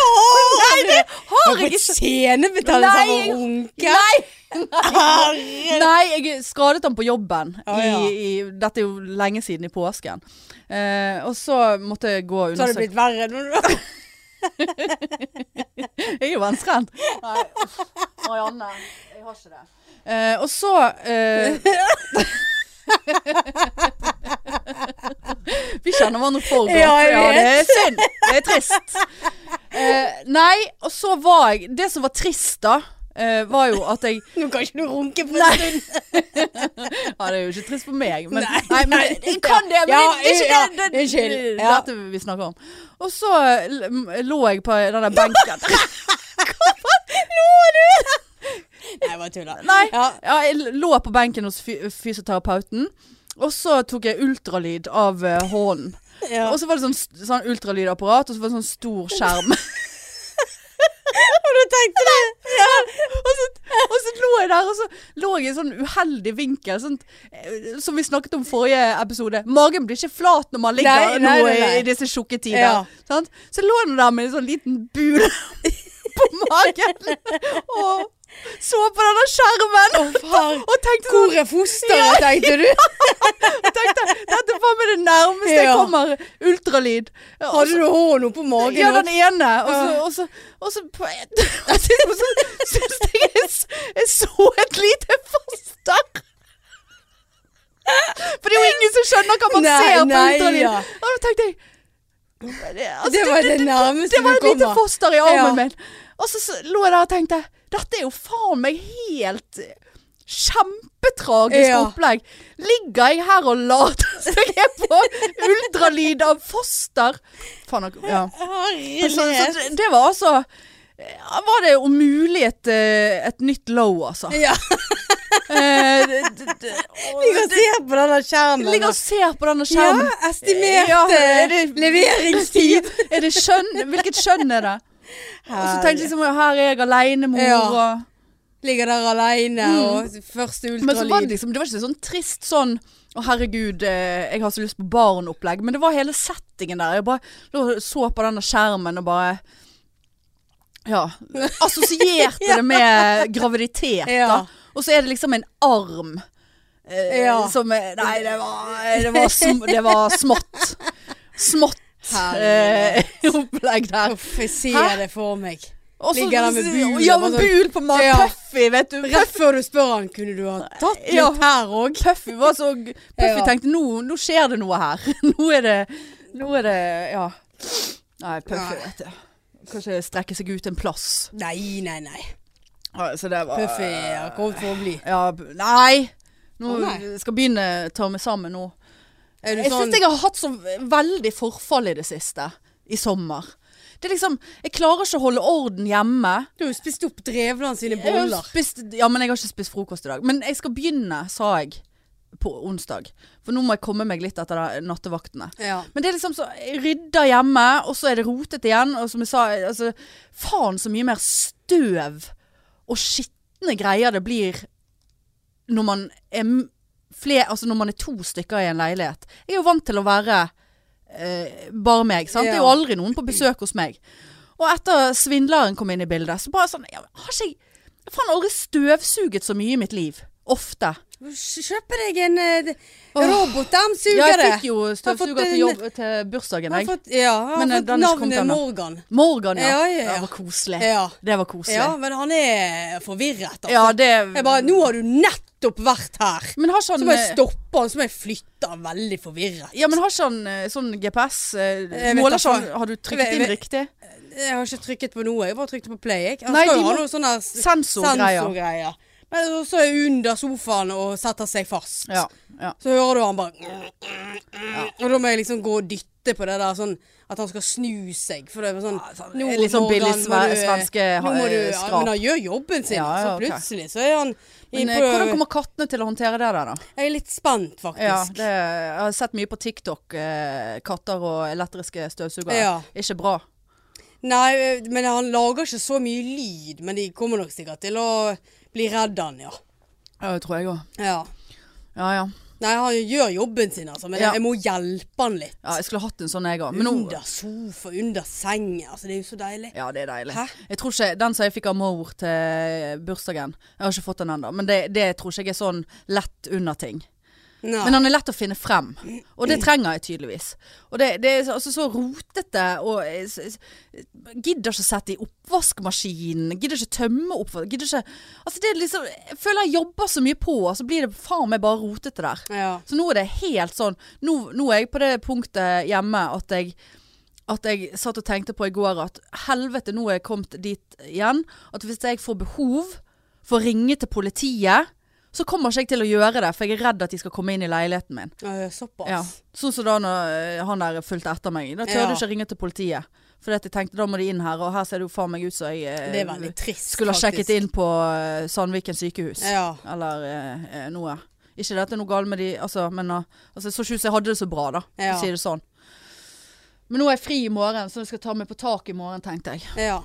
[SPEAKER 2] du.
[SPEAKER 1] har
[SPEAKER 2] Har
[SPEAKER 1] jeg
[SPEAKER 2] fått
[SPEAKER 1] ikke
[SPEAKER 2] senebetennelse av
[SPEAKER 1] Nei,
[SPEAKER 2] å
[SPEAKER 1] jeg-
[SPEAKER 2] runke.
[SPEAKER 1] Nei!
[SPEAKER 2] Herre.
[SPEAKER 1] Nei, jeg skadet han på jobben.
[SPEAKER 2] Å,
[SPEAKER 1] i,
[SPEAKER 2] ja.
[SPEAKER 1] i, dette er jo lenge siden, i påsken. Eh, og så måtte jeg gå og
[SPEAKER 2] Så har det
[SPEAKER 1] undersøke
[SPEAKER 2] blitt verre. når du-
[SPEAKER 1] Jeg er jo venstrehendt. Nei, uff. Marianne, jeg har ikke det. Eh, og så eh, Vi kjenner hverandre for godt.
[SPEAKER 2] Ja, jeg
[SPEAKER 1] det er synd. Det er trist. Eh, nei, og så var jeg Det som var trist, da, eh, var jo at jeg
[SPEAKER 2] Nå kan ikke du runke på en stund.
[SPEAKER 1] Ja, det er jo ikke trist for meg, men,
[SPEAKER 2] Nei,
[SPEAKER 1] nei, men
[SPEAKER 2] nei.
[SPEAKER 1] jeg, jeg kan det. Men
[SPEAKER 2] Ja,
[SPEAKER 1] det, det er ikke
[SPEAKER 2] ja,
[SPEAKER 1] det, det, det,
[SPEAKER 2] unnskyld. Ja.
[SPEAKER 1] dette vi snakker om. Og så l- m- lå jeg på den der benken.
[SPEAKER 2] Nei, jeg bare tuller.
[SPEAKER 1] Nei.
[SPEAKER 2] Ja.
[SPEAKER 1] Ja, jeg l- lå på benken hos fy fysioterapeuten, og så tok jeg ultralyd av eh, hånden.
[SPEAKER 2] Ja.
[SPEAKER 1] Og så var det sånn, st- sånn ultralydapparat, og så var det sånn stor skjerm.
[SPEAKER 2] Og da tenkte du ja.
[SPEAKER 1] og, så, og så lå jeg der, og så lå jeg i en sånn uheldig vinkel, sånn, eh, som vi snakket om forrige episode. Magen blir ikke flat når man ligger
[SPEAKER 2] Nei, nei,
[SPEAKER 1] nå
[SPEAKER 2] nei, nei.
[SPEAKER 1] i disse tjukke tider.
[SPEAKER 2] Ja.
[SPEAKER 1] Sant? Så jeg lå nå der med en sånn liten bul på magen, og så på denne skjermen,
[SPEAKER 2] far.
[SPEAKER 1] og tenkte sånn
[SPEAKER 2] Hvor er fosteret, tenkte du?
[SPEAKER 1] tenkte dette var med det nærmeste jeg
[SPEAKER 2] Ja.
[SPEAKER 1] kommer ultralyd. Og
[SPEAKER 2] Hadde du hånden oppå magen?
[SPEAKER 1] altså- ja,
[SPEAKER 2] nå?
[SPEAKER 1] den ene. Og så, og så, og så på et på et tidspunkt så syns jeg jeg s- jeg så et lite foster. For det er jo ingen som skjønner hva man
[SPEAKER 2] Nei,
[SPEAKER 1] ser på
[SPEAKER 2] nei,
[SPEAKER 1] ultralyd.
[SPEAKER 2] ja.
[SPEAKER 1] Og da tenkte jeg altså,
[SPEAKER 2] det var det nærmeste
[SPEAKER 1] det var
[SPEAKER 2] du
[SPEAKER 1] et lite
[SPEAKER 2] kommer.
[SPEAKER 1] foster i
[SPEAKER 2] Ja.
[SPEAKER 1] armen min. Og så, så lå jeg der og tenkte Dette er jo faen meg helt eh, Kjempetragisk
[SPEAKER 2] Ja.
[SPEAKER 1] opplegg. Ligger jeg her og later som jeg er på ultralyd av foster? Faen, ak- ja.
[SPEAKER 2] Herre
[SPEAKER 1] så, så det- sånn, det var altså eh, Var det om mulig et, eh, et nytt low, altså.
[SPEAKER 2] Ja,
[SPEAKER 1] Eh, d- d- d- og-
[SPEAKER 2] ligger og ser på den der skjermen.
[SPEAKER 1] Ligger og ser på denne skjermen.
[SPEAKER 2] Ja, estimert
[SPEAKER 1] Ja, er
[SPEAKER 2] eh,
[SPEAKER 1] det-
[SPEAKER 2] leveringstid.
[SPEAKER 1] Er det skjønn? Hvilket skjønn er det? Og så tenkte jeg liksom Her er jeg aleine, mor.
[SPEAKER 2] Ja.
[SPEAKER 1] og
[SPEAKER 2] Ligger der aleine og første
[SPEAKER 1] Mm. Men så var det
[SPEAKER 2] ultralyd.
[SPEAKER 1] liksom, det var ikke sånn trist sånn å herregud, eh, jeg har så lyst på barneopplegg. Men det var hele settingen der. Jeg bare da så på denne skjermen og bare Ja. Assosierte det med graviditet, da.
[SPEAKER 2] Ja.
[SPEAKER 1] Og så er det liksom en arm. Eh,
[SPEAKER 2] Ja.
[SPEAKER 1] Som er- Nei, det var, det var, sm det var smått. Smått eh, opplegg der.
[SPEAKER 2] Uff, jeg ser
[SPEAKER 1] Hæ?
[SPEAKER 2] det for meg.
[SPEAKER 1] Og så-
[SPEAKER 2] Ligger der med bul,
[SPEAKER 1] Ja,
[SPEAKER 2] og
[SPEAKER 1] med
[SPEAKER 2] bare sånn-
[SPEAKER 1] bul på magen.
[SPEAKER 2] Ja.
[SPEAKER 1] Puffy, vet du.
[SPEAKER 2] Rett før du spør han, kunne du ha tatt litt
[SPEAKER 1] Ja.
[SPEAKER 2] her òg?
[SPEAKER 1] Puffy var så Puffy
[SPEAKER 2] Ja.
[SPEAKER 1] tenkte nå, nå skjer det noe her. Nå er det Nå er det Ja. Nei, Puffy,
[SPEAKER 2] Nei.
[SPEAKER 1] vet du. Kanskje strekke seg ut en plass.
[SPEAKER 2] Nei, nei, nei.
[SPEAKER 1] Ja, Så det var
[SPEAKER 2] Puffy har kommet for å bli.
[SPEAKER 1] Ja, b- nei! Nå
[SPEAKER 2] Å, nei.
[SPEAKER 1] skal jeg begynne å ta meg sammen nå.
[SPEAKER 2] Er du
[SPEAKER 1] Jeg
[SPEAKER 2] sånn
[SPEAKER 1] syns jeg har hatt så veldig forfall i det siste. I sommer. Det er liksom Jeg klarer ikke å holde orden hjemme.
[SPEAKER 2] Du har jo spist opp Drevland sine
[SPEAKER 1] Jeg har
[SPEAKER 2] boller.
[SPEAKER 1] spist, ja, men jeg har ikke spist frokost i dag. Men jeg skal begynne, sa jeg, på onsdag. For nå må jeg komme meg litt etter da- nattevaktene.
[SPEAKER 2] Ja.
[SPEAKER 1] Men det er liksom så Jeg rydder hjemme, og så er det rotet igjen. Og som jeg sa, altså Faen så mye mer støv og skitne greier det blir når man er m- fle- Altså når man er to stykker i en leilighet. Jeg er jo vant til å være eh, bare meg, sant. Det er jo
[SPEAKER 2] Ja.
[SPEAKER 1] aldri noen på besøk hos meg. Og etter svindleren kom inn i bildet, så bare sånn ja, Har ikke jeg jeg har faen aldri støvsuget så mye i mitt liv. Ofte.
[SPEAKER 2] Kjøpe deg en eh,
[SPEAKER 1] Åh.
[SPEAKER 2] robotdammsuger.
[SPEAKER 1] Ja, jeg fikk jo
[SPEAKER 2] fått
[SPEAKER 1] støvsuger til,
[SPEAKER 2] en-
[SPEAKER 1] jobb, til bursdagen, jeg.
[SPEAKER 2] har fått, ja, han
[SPEAKER 1] Men, eh,
[SPEAKER 2] har fått
[SPEAKER 1] den er ikke kommet
[SPEAKER 2] navnet
[SPEAKER 1] ennå.
[SPEAKER 2] Morgan.
[SPEAKER 1] Morgan, ja.
[SPEAKER 2] Ja, ja, ja.
[SPEAKER 1] Det var koselig.
[SPEAKER 2] Ja.
[SPEAKER 1] Det var koselig.
[SPEAKER 2] ja,
[SPEAKER 1] Ja,
[SPEAKER 2] men han er forvirret. Altså.
[SPEAKER 1] det
[SPEAKER 2] Jeg bare 'Nå har du nettopp vært her!'
[SPEAKER 1] Men har ikke
[SPEAKER 2] Så må jeg
[SPEAKER 1] han eh,
[SPEAKER 2] stoppe han, så må jeg flytte han veldig forvirret.
[SPEAKER 1] ja, men har ikke han eh, sånn GPS? eh,
[SPEAKER 2] vet
[SPEAKER 1] Måler
[SPEAKER 2] da
[SPEAKER 1] ikke han
[SPEAKER 2] faen.
[SPEAKER 1] Har du
[SPEAKER 2] Jeg
[SPEAKER 1] trykt
[SPEAKER 2] vet-
[SPEAKER 1] inn riktig?
[SPEAKER 2] Jeg har ikke trykket på noe, jeg bare trykte på play. Jeg. Han
[SPEAKER 1] Nei,
[SPEAKER 2] skal
[SPEAKER 1] de
[SPEAKER 2] jo ha
[SPEAKER 1] må-
[SPEAKER 2] noe sånn der s-
[SPEAKER 1] sensorgreier.
[SPEAKER 2] sensorgreier. Men så- så er jeg under sofaen og setter seg fast.
[SPEAKER 1] Ja. ja.
[SPEAKER 2] Så hører du han bare Og da må jeg liksom gå og dytte på det der sånn at han skal snu seg. For det var sånn,
[SPEAKER 1] sånn,
[SPEAKER 2] nå,
[SPEAKER 1] litt sånn billig
[SPEAKER 2] Morgan, må
[SPEAKER 1] sve-
[SPEAKER 2] du- nå
[SPEAKER 1] svenske,
[SPEAKER 2] må du,
[SPEAKER 1] eh,
[SPEAKER 2] ja,
[SPEAKER 1] skrap.
[SPEAKER 2] Men han gjør jobben sin.
[SPEAKER 1] Ja, ja,
[SPEAKER 2] så
[SPEAKER 1] ok.
[SPEAKER 2] plutselig så er han i
[SPEAKER 1] Men eh,
[SPEAKER 2] på-
[SPEAKER 1] hvordan kommer kattene til å håndtere det der, da?
[SPEAKER 2] Jeg er litt spent,
[SPEAKER 1] Ja,
[SPEAKER 2] faktisk.
[SPEAKER 1] det, jeg har sett mye på TikTok. Eh, katter og elektriske støvsugere.
[SPEAKER 2] Ja.
[SPEAKER 1] Ikke bra.
[SPEAKER 2] Nei, men han lager ikke så mye lyd. Men de kommer nok sikkert til å bli redd han, ja.
[SPEAKER 1] Ja, det tror jeg òg.
[SPEAKER 2] ja.
[SPEAKER 1] Ja, ja.
[SPEAKER 2] Nei, han gjør jobben sin, altså. Men
[SPEAKER 1] Ja.
[SPEAKER 2] jeg må hjelpe han litt.
[SPEAKER 1] ja. Jeg skulle hatt en sånn, jeg òg. Men nå
[SPEAKER 2] Under sofa, under sengen. Altså, det er jo så deilig.
[SPEAKER 1] Ja, det er deilig.
[SPEAKER 2] Hæ?
[SPEAKER 1] Jeg tror ikke, Den som jeg fikk av mor til bursdagen Jeg har ikke fått den ennå, men det, det tror ikke jeg er sånn lett under ting.
[SPEAKER 2] Nei.
[SPEAKER 1] Men han er lett å finne frem, og det trenger jeg tydeligvis. Og det, det er så- altså så rotete, og jeg s- s- gidder ikke sette i oppvaskmaskinen, gidder ikke tømme oppvask... Gidder ikke Altså, det er liksom Jeg føler jeg jobber så mye på, og så blir det faen meg bare rotete der.
[SPEAKER 2] ja.
[SPEAKER 1] Så nå er det helt sånn Nå, nå er jeg på det punktet hjemme at jeg at jeg satt og tenkte på i går at helvete, nå er jeg kommet dit igjen. At hvis jeg får behov for å ringe til politiet, så kommer ikke jeg til å gjøre det. For jeg er redd at de skal komme inn i leiligheten min.
[SPEAKER 2] Ja, Såpass.
[SPEAKER 1] Ja. Sånn som da når eh, han der fulgte etter meg. Da tør
[SPEAKER 2] Ja.
[SPEAKER 1] du ikke ringe til politiet. For jeg tenkte da må de inn her, og her ser det jo faen meg ut som jeg eh,
[SPEAKER 2] Det er veldig trist,
[SPEAKER 1] skulle ha sjekket
[SPEAKER 2] faktisk.
[SPEAKER 1] inn på eh, Sandviken sykehus.
[SPEAKER 2] Ja.
[SPEAKER 1] Eller eh, eh, noe. Ikke det at det er noe galt med de altså, Men uh, altså, så ikke ut som jeg hadde det så bra, da. For
[SPEAKER 2] Ja.
[SPEAKER 1] å si det sånn. Men nå er jeg fri i morgen, så jeg skal ta meg på tak i morgen, tenkte jeg.
[SPEAKER 2] ja.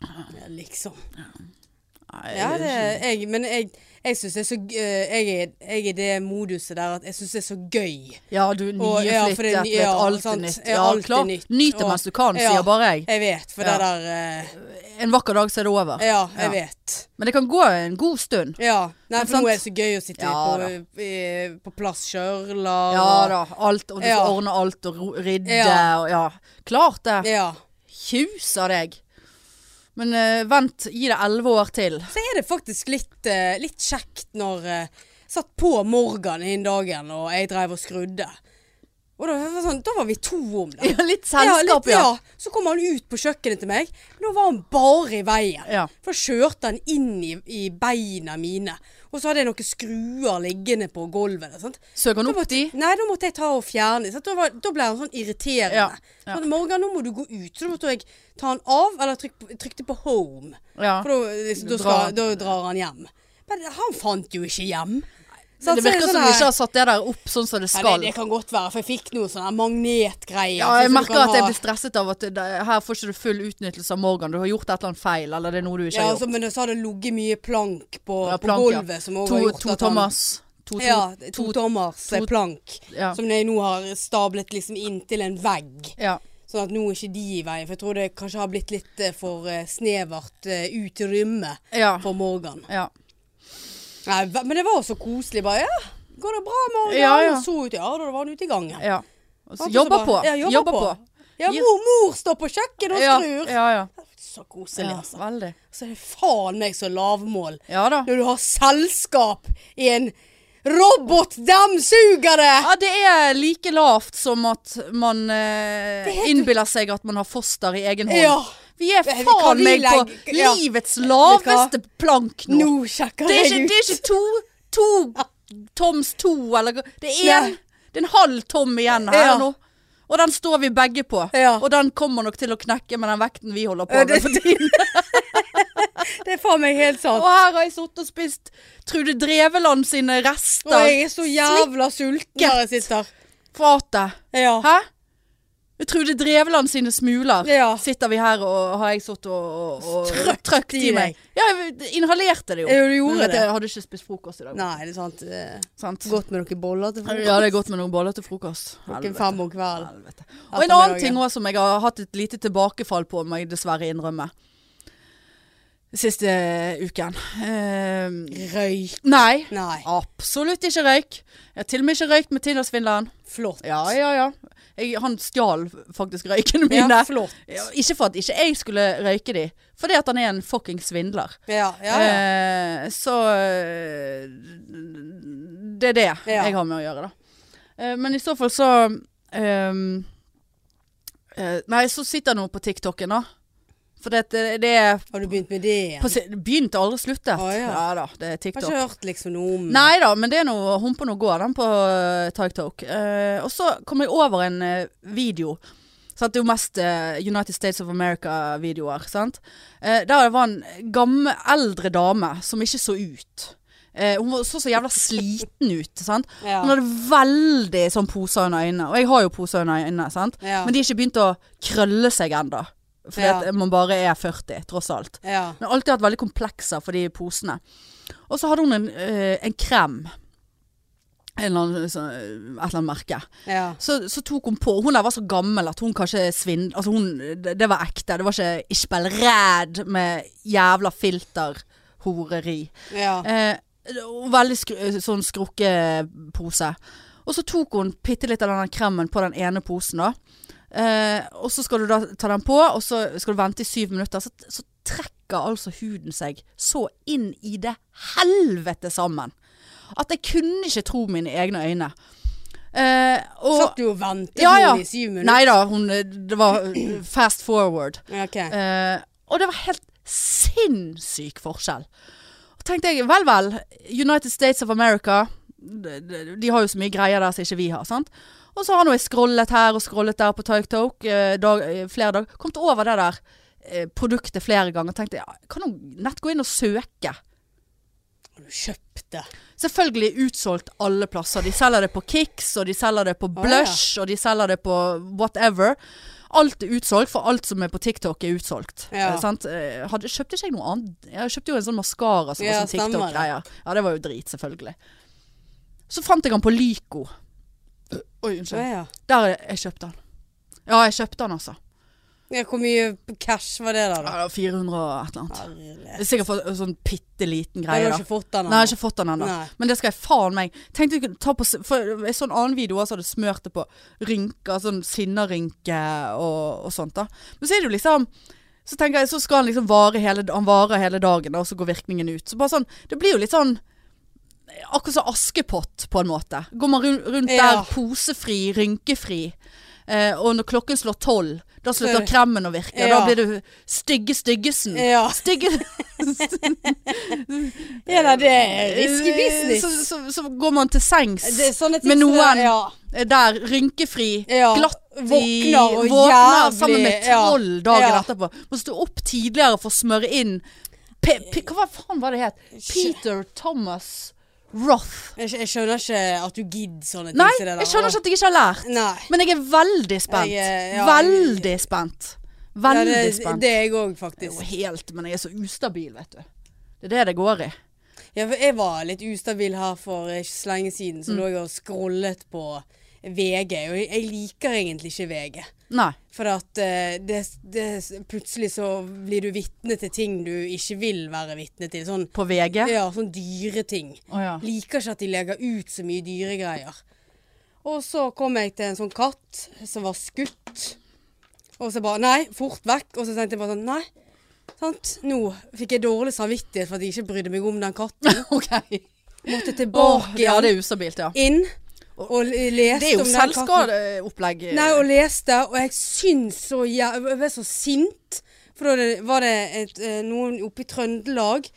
[SPEAKER 2] Ja, liksom.
[SPEAKER 1] Nei,
[SPEAKER 2] Ja, det,
[SPEAKER 1] Eh,
[SPEAKER 2] jeg, men jeg, jeg syns det er så g- eh, jeg er, jeg er i det moduset der at jeg syns det er så gøy.
[SPEAKER 1] ja du nye
[SPEAKER 2] Og, ja, for det
[SPEAKER 1] flyttet,
[SPEAKER 2] er ny-
[SPEAKER 1] vet,
[SPEAKER 2] ja,
[SPEAKER 1] alt er
[SPEAKER 2] sant.
[SPEAKER 1] nytt.
[SPEAKER 2] Ja,
[SPEAKER 1] Ja,
[SPEAKER 2] alt er
[SPEAKER 1] klart.
[SPEAKER 2] nytt.
[SPEAKER 1] Nyt det
[SPEAKER 2] Og-
[SPEAKER 1] mens du kan,
[SPEAKER 2] ja.
[SPEAKER 1] sier bare jeg.
[SPEAKER 2] Jeg vet, for
[SPEAKER 1] Ja.
[SPEAKER 2] det der eh,
[SPEAKER 1] En vakker dag så er det over.
[SPEAKER 2] Ja, jeg
[SPEAKER 1] Ja.
[SPEAKER 2] vet.
[SPEAKER 1] Men det kan gå en god stund.
[SPEAKER 2] Ja. Nei,
[SPEAKER 1] Men
[SPEAKER 2] for
[SPEAKER 1] sant?
[SPEAKER 2] nå er det så gøy å sitte
[SPEAKER 1] Ja,
[SPEAKER 2] på, eh, på plass skjørler
[SPEAKER 1] Ja
[SPEAKER 2] og-
[SPEAKER 1] da. Alt, og du
[SPEAKER 2] Ja.
[SPEAKER 1] skal ordne alt og ro- rydde
[SPEAKER 2] Ja.
[SPEAKER 1] og ja. Klart det.
[SPEAKER 2] Ja.
[SPEAKER 1] Tjus av deg. Men eh, vent, gi det elleve år til.
[SPEAKER 2] Så er det faktisk litt, eh, litt kjekt når eh, jeg Satt på Morgan inn dagen, og jeg drev og skrudde. Og da, var det sånn, da var vi to om det.
[SPEAKER 1] Ja, litt selskap,
[SPEAKER 2] litt, ja. Så kom han ut på kjøkkenet til meg. Da var han bare i veien.
[SPEAKER 1] Ja.
[SPEAKER 2] For kjørte han inn i, i beina mine. Og så hadde jeg noen skruer liggende på gulvet. Der, sant?
[SPEAKER 1] Søker han
[SPEAKER 2] Da
[SPEAKER 1] opp de?
[SPEAKER 2] Nei, da måtte jeg ta og fjerne. sant? Da, var, da ble han sånn irriterende.
[SPEAKER 1] Ja, ja.
[SPEAKER 2] Sånn, Morgan, nå må du gå ut. Så da måtte jeg ta han av, eller tryk, på- trykte på home.
[SPEAKER 1] Ja.
[SPEAKER 2] For da, liksom, da,
[SPEAKER 1] Drar-
[SPEAKER 2] skal, da drar han hjem. Men han fant jo ikke hjem.
[SPEAKER 1] Det
[SPEAKER 2] så er
[SPEAKER 1] virker som
[SPEAKER 2] sånn
[SPEAKER 1] du
[SPEAKER 2] her-
[SPEAKER 1] ikke har satt det der opp sånn som det
[SPEAKER 2] ja, det,
[SPEAKER 1] skal.
[SPEAKER 2] det kan godt være, for jeg fikk noe sånn her magnetgreier.
[SPEAKER 1] Ja,
[SPEAKER 2] sånn som
[SPEAKER 1] jeg
[SPEAKER 2] du
[SPEAKER 1] merker
[SPEAKER 2] kan
[SPEAKER 1] at jeg
[SPEAKER 2] ha-
[SPEAKER 1] blir stresset av at det, det- her får ikke du full utnyttelse av Morgan. Du har gjort et eller annet feil, eller det er noe du ikke
[SPEAKER 2] Ja,
[SPEAKER 1] har
[SPEAKER 2] altså,
[SPEAKER 1] gjort.
[SPEAKER 2] men så har det ligget mye plank på,
[SPEAKER 1] Ja,
[SPEAKER 2] på
[SPEAKER 1] plank, ja.
[SPEAKER 2] gulvet. Som også har
[SPEAKER 1] To,
[SPEAKER 2] gjort
[SPEAKER 1] to
[SPEAKER 2] at han-
[SPEAKER 1] Thomas. To, to,
[SPEAKER 2] Ja, to,
[SPEAKER 1] to,
[SPEAKER 2] tommers eh,
[SPEAKER 1] to-
[SPEAKER 2] plank.
[SPEAKER 1] ja.
[SPEAKER 2] Som jeg nå har stablet liksom inntil en vegg.
[SPEAKER 1] ja.
[SPEAKER 2] Sånn at nå er ikke de i veien. For jeg tror det kanskje har blitt litt eh, for eh, snevert eh, ut i rømmet
[SPEAKER 1] Ja.
[SPEAKER 2] for Morgan.
[SPEAKER 1] ja.
[SPEAKER 2] Nei, ve- men det var så koselig. Bare ja, går det bra, Morgan?
[SPEAKER 1] Ja, ja.
[SPEAKER 2] Så ut, ja, da var han ute i gangen.
[SPEAKER 1] ja. Og så
[SPEAKER 2] Alt er så
[SPEAKER 1] Jobber
[SPEAKER 2] bra.
[SPEAKER 1] på.
[SPEAKER 2] Ja, jobber
[SPEAKER 1] Jobber
[SPEAKER 2] på.
[SPEAKER 1] på.
[SPEAKER 2] Ja, mor, mor står på kjøkkenet og
[SPEAKER 1] Ja,
[SPEAKER 2] skrur.
[SPEAKER 1] ja, ja.
[SPEAKER 2] Så koselig,
[SPEAKER 1] ja.
[SPEAKER 2] altså.
[SPEAKER 1] Veldig.
[SPEAKER 2] Så er det faen meg så lavmål.
[SPEAKER 1] Ja da.
[SPEAKER 2] Når du har selskap i en robotdamsugere!
[SPEAKER 1] Ja, det er like lavt som at man eh,
[SPEAKER 2] Det er helt-
[SPEAKER 1] innbiller seg at man har foster i egen hånd.
[SPEAKER 2] Ja.
[SPEAKER 1] Vi er
[SPEAKER 2] Det- kan
[SPEAKER 1] faen
[SPEAKER 2] vi
[SPEAKER 1] meg på
[SPEAKER 2] legge- ja.
[SPEAKER 1] livets laveste plank nå.
[SPEAKER 2] Nå sjekker
[SPEAKER 1] Det er ikke,
[SPEAKER 2] jeg
[SPEAKER 1] det
[SPEAKER 2] ut.
[SPEAKER 1] er ikke to, to toms to, eller hva- Det er
[SPEAKER 2] Nei.
[SPEAKER 1] én. Det er en halv tom igjen her
[SPEAKER 2] Ja.
[SPEAKER 1] nå. Og den står vi begge på.
[SPEAKER 2] Ja.
[SPEAKER 1] Og den kommer nok til å knekke med den vekten vi holder på
[SPEAKER 2] Ja,
[SPEAKER 1] med
[SPEAKER 2] det-
[SPEAKER 1] for tiden.
[SPEAKER 2] Det er faen meg helt
[SPEAKER 1] Og
[SPEAKER 2] sant.
[SPEAKER 1] her har jeg sittet og spist Trude Dreveland sine
[SPEAKER 2] Og
[SPEAKER 1] rester.
[SPEAKER 2] jeg er så jævla sulten når jeg sitter.
[SPEAKER 1] Fatet.
[SPEAKER 2] Ja.
[SPEAKER 1] Hæ? Med Trude Dreveland sine smuler
[SPEAKER 2] Ja.
[SPEAKER 1] sitter vi her og har jeg sittet og, og, og
[SPEAKER 2] Trøkt
[SPEAKER 1] trøkt
[SPEAKER 2] i
[SPEAKER 1] i meg. Ja, jeg inhalerte det jo.
[SPEAKER 2] Ja, du gjorde
[SPEAKER 1] Men vet du,
[SPEAKER 2] det.
[SPEAKER 1] Jeg hadde ikke spist frokost i dag.
[SPEAKER 2] Nei, det er sant. Eh,
[SPEAKER 1] Sant?
[SPEAKER 2] Godt med noen boller til frokost.
[SPEAKER 1] Ja, det er godt med noen boller til frokost.
[SPEAKER 2] Klokken fem om kvelden.
[SPEAKER 1] Helvete. Og en annen
[SPEAKER 2] Ettermiddagen.
[SPEAKER 1] ting også som jeg har hatt et lite tilbakefall på, må jeg dessverre innrømme. Siste uken. Eh,
[SPEAKER 2] Røyk.
[SPEAKER 1] nei.
[SPEAKER 2] Nei.
[SPEAKER 1] Absolutt ikke røyk. Jeg har til og med ikke røykt med Tindersvindleren.
[SPEAKER 2] Flott.
[SPEAKER 1] Ja, ja, ja. Jeg, han stjal faktisk røykene
[SPEAKER 2] Ja,
[SPEAKER 1] mine.
[SPEAKER 2] flott.
[SPEAKER 1] Ja, ikke for at ikke jeg skulle røyke de, fordi at han er en fucking svindler.
[SPEAKER 2] Ja, ja, ja.
[SPEAKER 1] Eh, så eh, Det er det
[SPEAKER 2] Ja.
[SPEAKER 1] jeg har med å gjøre, da. Eh, men i så fall så ehm, eh, Nei, så sitter jeg nå på TikToken, da. For det, det, det er
[SPEAKER 2] Har du begynt med det igjen?
[SPEAKER 1] på, si- Begynt og aldri sluttet.
[SPEAKER 2] Å, ja.
[SPEAKER 1] da, det er
[SPEAKER 2] Har
[SPEAKER 1] TikTok.
[SPEAKER 2] ikke hørt liksom noe om
[SPEAKER 1] Nei da, men det er noe humpen å gå av den på eh, TikTok. Eh, og så kom jeg over en eh, video. Sant? Det er jo mest eh, United States of America-videoer. Sant? Eh, der var en gammel, eldre dame som ikke så ut. Eh, hun var- så så jævla sliten ut. Sant?
[SPEAKER 2] Ja.
[SPEAKER 1] Hun hadde veldig sånn poser under øynene. Og jeg har jo poser under øynene, sant?
[SPEAKER 2] Ja.
[SPEAKER 1] men de har ikke begynt å krølle seg ennå. Fordi
[SPEAKER 2] Ja.
[SPEAKER 1] at man bare er 40, tross alt.
[SPEAKER 2] Ja.
[SPEAKER 1] Men alltid hatt veldig komplekser for de posene. Og så hadde hun en, eh, en krem. En eller annen, sånn, eh, et eller annet merke.
[SPEAKER 2] ja.
[SPEAKER 1] Så, så tok hun på. Hun der var så gammel at hun kanskje svindlet. Altså hun, det, det var ekte. Det var ikke Ishbel Ræd med jævla filterhoreri.
[SPEAKER 2] ja.
[SPEAKER 1] Eh, og veldig skru, eh, sånn skrukkepose. Og så tok hun bitte litt av denne kremmen på den ene posen, da. Eh, og så skal du da ta den på, og så skal du vente i syv minutter. Så, så trekker altså huden seg så inn i det helvete sammen at jeg kunne ikke tro mine egne øyne. Eh, og
[SPEAKER 2] Satt du og ventet
[SPEAKER 1] Ja, ja.
[SPEAKER 2] noen i syv minutter?
[SPEAKER 1] Nei da, hun eh, Det var eh, fast forward.
[SPEAKER 2] Ja, ok.
[SPEAKER 1] Eh, og det var helt sinnssyk forskjell. Og tenkte jeg, vel vel, United States of America, de, de- de har jo så mye greier der som ikke vi har, sant? Og så har nå jeg scrollet her og scrollet der på TikTok eh, dag, eh, flere dager. Kommet over det der eh, produktet flere ganger og tenkte, ja, kan jo nett gå inn og søke.
[SPEAKER 2] Har du kjøpt det?
[SPEAKER 1] Selvfølgelig utsolgt alle plasser. De selger det på Kicks, og de selger det på Blush, og de selger det på whatever. Alt er utsolgt, for alt som er på TikTok er utsolgt.
[SPEAKER 2] Ja.
[SPEAKER 1] Eh, sant? Eh, Hadde, kjøpte ikke jeg noe annet? Jeg kjøpte jo en sånn maskara som
[SPEAKER 2] Ja,
[SPEAKER 1] var sånn
[SPEAKER 2] stemmer det.
[SPEAKER 1] TikTok-greier. Ja, det var jo drit, selvfølgelig. Så fant jeg han på Lyco. Oi,
[SPEAKER 2] Å,
[SPEAKER 1] unnskyld.
[SPEAKER 2] ja.
[SPEAKER 1] Der er- jeg kjøpte han. Ja, jeg kjøpte han altså.
[SPEAKER 2] ja. Hvor mye cash var det der, da?
[SPEAKER 1] Ja, det var 400 og et eller annet.
[SPEAKER 2] Herlig.
[SPEAKER 1] Det er Sikkert for en sånn bitte liten
[SPEAKER 2] Men
[SPEAKER 1] greie.
[SPEAKER 2] Du
[SPEAKER 1] da.
[SPEAKER 2] har ikke fått den
[SPEAKER 1] Nei, jeg har ikke fått den ennå.
[SPEAKER 2] Nei.
[SPEAKER 1] Men det skal jeg faen meg. Tenkte jeg kunne ta på s- For jeg så en sånn annen video også hadde smørt det på rynker, sånn sinnarynke og, og sånt. da Men så er det jo liksom Så tenker jeg, så skal han liksom vare hele, han varer hele dagen, da, og så går virkningen ut. Så bare sånn Det blir jo litt sånn Akkurat som Askepott, på en måte. Går man rundt, rundt
[SPEAKER 2] Ja.
[SPEAKER 1] der posefri, rynkefri, eh, og når klokken slår tolv, da slutter
[SPEAKER 2] det-
[SPEAKER 1] kremmen å virke.
[SPEAKER 2] Eh. Ja. Eh.
[SPEAKER 1] Da blir du stygge styggesen.
[SPEAKER 2] Ja.
[SPEAKER 1] Stygge
[SPEAKER 2] ja da, det er risky business.
[SPEAKER 1] Eh, så, så, så går man til sengs
[SPEAKER 2] Eh, Det er sånne ting
[SPEAKER 1] med
[SPEAKER 2] som det-
[SPEAKER 1] noen eh,
[SPEAKER 2] Ja.
[SPEAKER 1] der, rynkefri,
[SPEAKER 2] Ja.
[SPEAKER 1] glatt i
[SPEAKER 2] Våkner og
[SPEAKER 1] våkner
[SPEAKER 2] jævlig-
[SPEAKER 1] sammen med
[SPEAKER 2] ja.
[SPEAKER 1] troll dagen
[SPEAKER 2] Ja.
[SPEAKER 1] etterpå. Må stå opp tidligere for å smøre inn pe, pe, Hva faen var det het? Peter Thomas Roth.
[SPEAKER 2] Jeg, skj- jeg skjønner ikke at du gidder sånne ting
[SPEAKER 1] Nei,
[SPEAKER 2] som det der.
[SPEAKER 1] jeg skjønner ikke at jeg ikke har lært.
[SPEAKER 2] Nei.
[SPEAKER 1] Men jeg er veldig spent.
[SPEAKER 2] Jeg er- ja,
[SPEAKER 1] veldig spent.
[SPEAKER 2] Ja,
[SPEAKER 1] Veldig
[SPEAKER 2] det,
[SPEAKER 1] spent.
[SPEAKER 2] det er jeg òg,
[SPEAKER 1] Det er
[SPEAKER 2] faktisk.
[SPEAKER 1] jo helt Men jeg er så ustabil, vet du. Det er det det går i.
[SPEAKER 2] Ja, for jeg var litt ustabil her for eh, ikke så lenge siden,
[SPEAKER 1] Mm.
[SPEAKER 2] så lå jeg og scrollet på VG. Og jeg- jeg liker egentlig ikke VG.
[SPEAKER 1] Nei.
[SPEAKER 2] For at eh, det, det, plutselig så blir du vitne til ting du ikke vil være vitne til. Sånn,
[SPEAKER 1] På VG.
[SPEAKER 2] ja, sånn dyreting.
[SPEAKER 1] Å ja.
[SPEAKER 2] Liker ikke at de legger ut så mye dyregreier. Og så kom jeg til en sånn katt som var skutt. Og så bare Nei, fort vekk. Og så tenkte jeg bare sånn Nei. Sant? Nå fikk jeg dårlig samvittighet for at jeg ikke brydde meg om den katten.
[SPEAKER 1] OK.
[SPEAKER 2] Måtte
[SPEAKER 1] Åh,
[SPEAKER 2] tilbake
[SPEAKER 1] ja,
[SPEAKER 2] igjen,
[SPEAKER 1] det er ustabilt, ja.
[SPEAKER 2] inn og le-
[SPEAKER 1] Det
[SPEAKER 2] leste
[SPEAKER 1] er jo
[SPEAKER 2] om den katten.
[SPEAKER 1] selvskadeopplegg. eh,
[SPEAKER 2] Nei, og leste, og jeg syns så jæv- Jeg ble så sint. For da det- var det et, eh, noen oppe i Trøndelag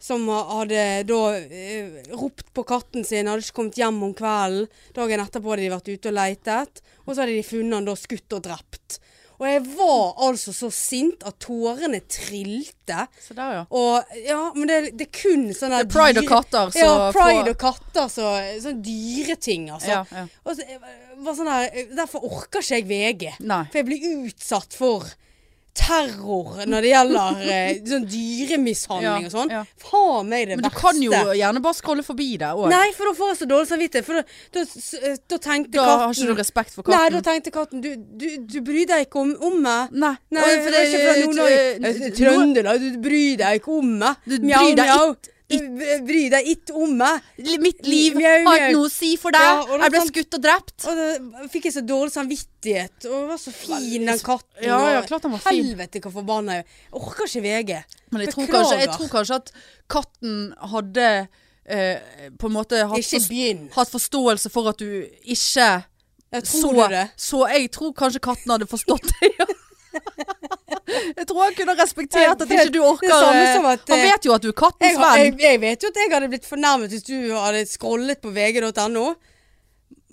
[SPEAKER 2] som ha- hadde da eh, ropt på katten sin, hadde ikke kommet hjem om kvelden. Dagen etterpå hadde de vært ute og leitet, og så hadde de funnet han da skutt og drept. Og jeg var altså så sint at tårene trilte.
[SPEAKER 1] Så der, ja.
[SPEAKER 2] Og ja, men det, det er kun sånne
[SPEAKER 1] Det er pride og
[SPEAKER 2] dyre-
[SPEAKER 1] katter, så
[SPEAKER 2] Ja, pride
[SPEAKER 1] får-
[SPEAKER 2] og katter, så sånne dyreting, altså.
[SPEAKER 1] Ja, ja.
[SPEAKER 2] Og så, jeg var sånn her, derfor orker ikke jeg VG.
[SPEAKER 1] Nei.
[SPEAKER 2] For jeg blir utsatt for terror når det gjelder eh, sånn dyremishandling
[SPEAKER 1] Ja,
[SPEAKER 2] og sånn.
[SPEAKER 1] ja.
[SPEAKER 2] Faen meg det
[SPEAKER 1] Men du
[SPEAKER 2] verste.
[SPEAKER 1] kan jo gjerne bare scrolle forbi det òg.
[SPEAKER 2] Nei, for da får jeg så dårlig samvittighet. For da, da, s- eh, da tenkte
[SPEAKER 1] Da
[SPEAKER 2] katten
[SPEAKER 1] har ikke du respekt for
[SPEAKER 2] Nei, da
[SPEAKER 1] katten.
[SPEAKER 2] tenkte katten Du, du, du bryr deg ikke om, om meg.
[SPEAKER 1] Nei,
[SPEAKER 2] Nei,
[SPEAKER 1] Oi,
[SPEAKER 2] for det er ikke fra Nord-Norge. Eh, Trøndelag, du bryr deg ikke om meg.
[SPEAKER 1] Du bryr
[SPEAKER 2] Mjau,
[SPEAKER 1] deg
[SPEAKER 2] mjau. Du b- bryr deg ikke om meg.
[SPEAKER 1] Li- Mitt liv
[SPEAKER 2] Mjau,
[SPEAKER 1] har
[SPEAKER 2] mjau.
[SPEAKER 1] ikke noe å si for
[SPEAKER 2] Ja,
[SPEAKER 1] deg.
[SPEAKER 2] og det er
[SPEAKER 1] Jeg ble
[SPEAKER 2] sant.
[SPEAKER 1] skutt og drept.
[SPEAKER 2] Og da fikk jeg så dårlig samvittighet. Og det var så fin, den katten.
[SPEAKER 1] Ja, ja,
[SPEAKER 2] og
[SPEAKER 1] klart den var fin.
[SPEAKER 2] Helvete, hvor forbanna jeg Jeg orker ikke VG.
[SPEAKER 1] Men jeg tror,
[SPEAKER 2] Beklager.
[SPEAKER 1] kanskje, jeg tror kanskje at katten hadde eh, på en måte hatt,
[SPEAKER 2] Ikke
[SPEAKER 1] forst-
[SPEAKER 2] begynn.
[SPEAKER 1] hatt forståelse for at du ikke
[SPEAKER 2] Jeg tror
[SPEAKER 1] så,
[SPEAKER 2] du det.
[SPEAKER 1] så Jeg tror kanskje katten hadde forstått det. ja. jeg tror han kunne
[SPEAKER 2] Ja,
[SPEAKER 1] respektert at
[SPEAKER 2] det-
[SPEAKER 1] ikke du
[SPEAKER 2] det
[SPEAKER 1] orker
[SPEAKER 2] er samme
[SPEAKER 1] eh,
[SPEAKER 2] som at,
[SPEAKER 1] Han
[SPEAKER 2] eh,
[SPEAKER 1] vet jo at du er
[SPEAKER 2] Jeg,
[SPEAKER 1] kattens
[SPEAKER 2] har- jeg,
[SPEAKER 1] venn.
[SPEAKER 2] jeg vet jo at jeg hadde blitt fornærmet hvis du hadde scrollet på vg.no.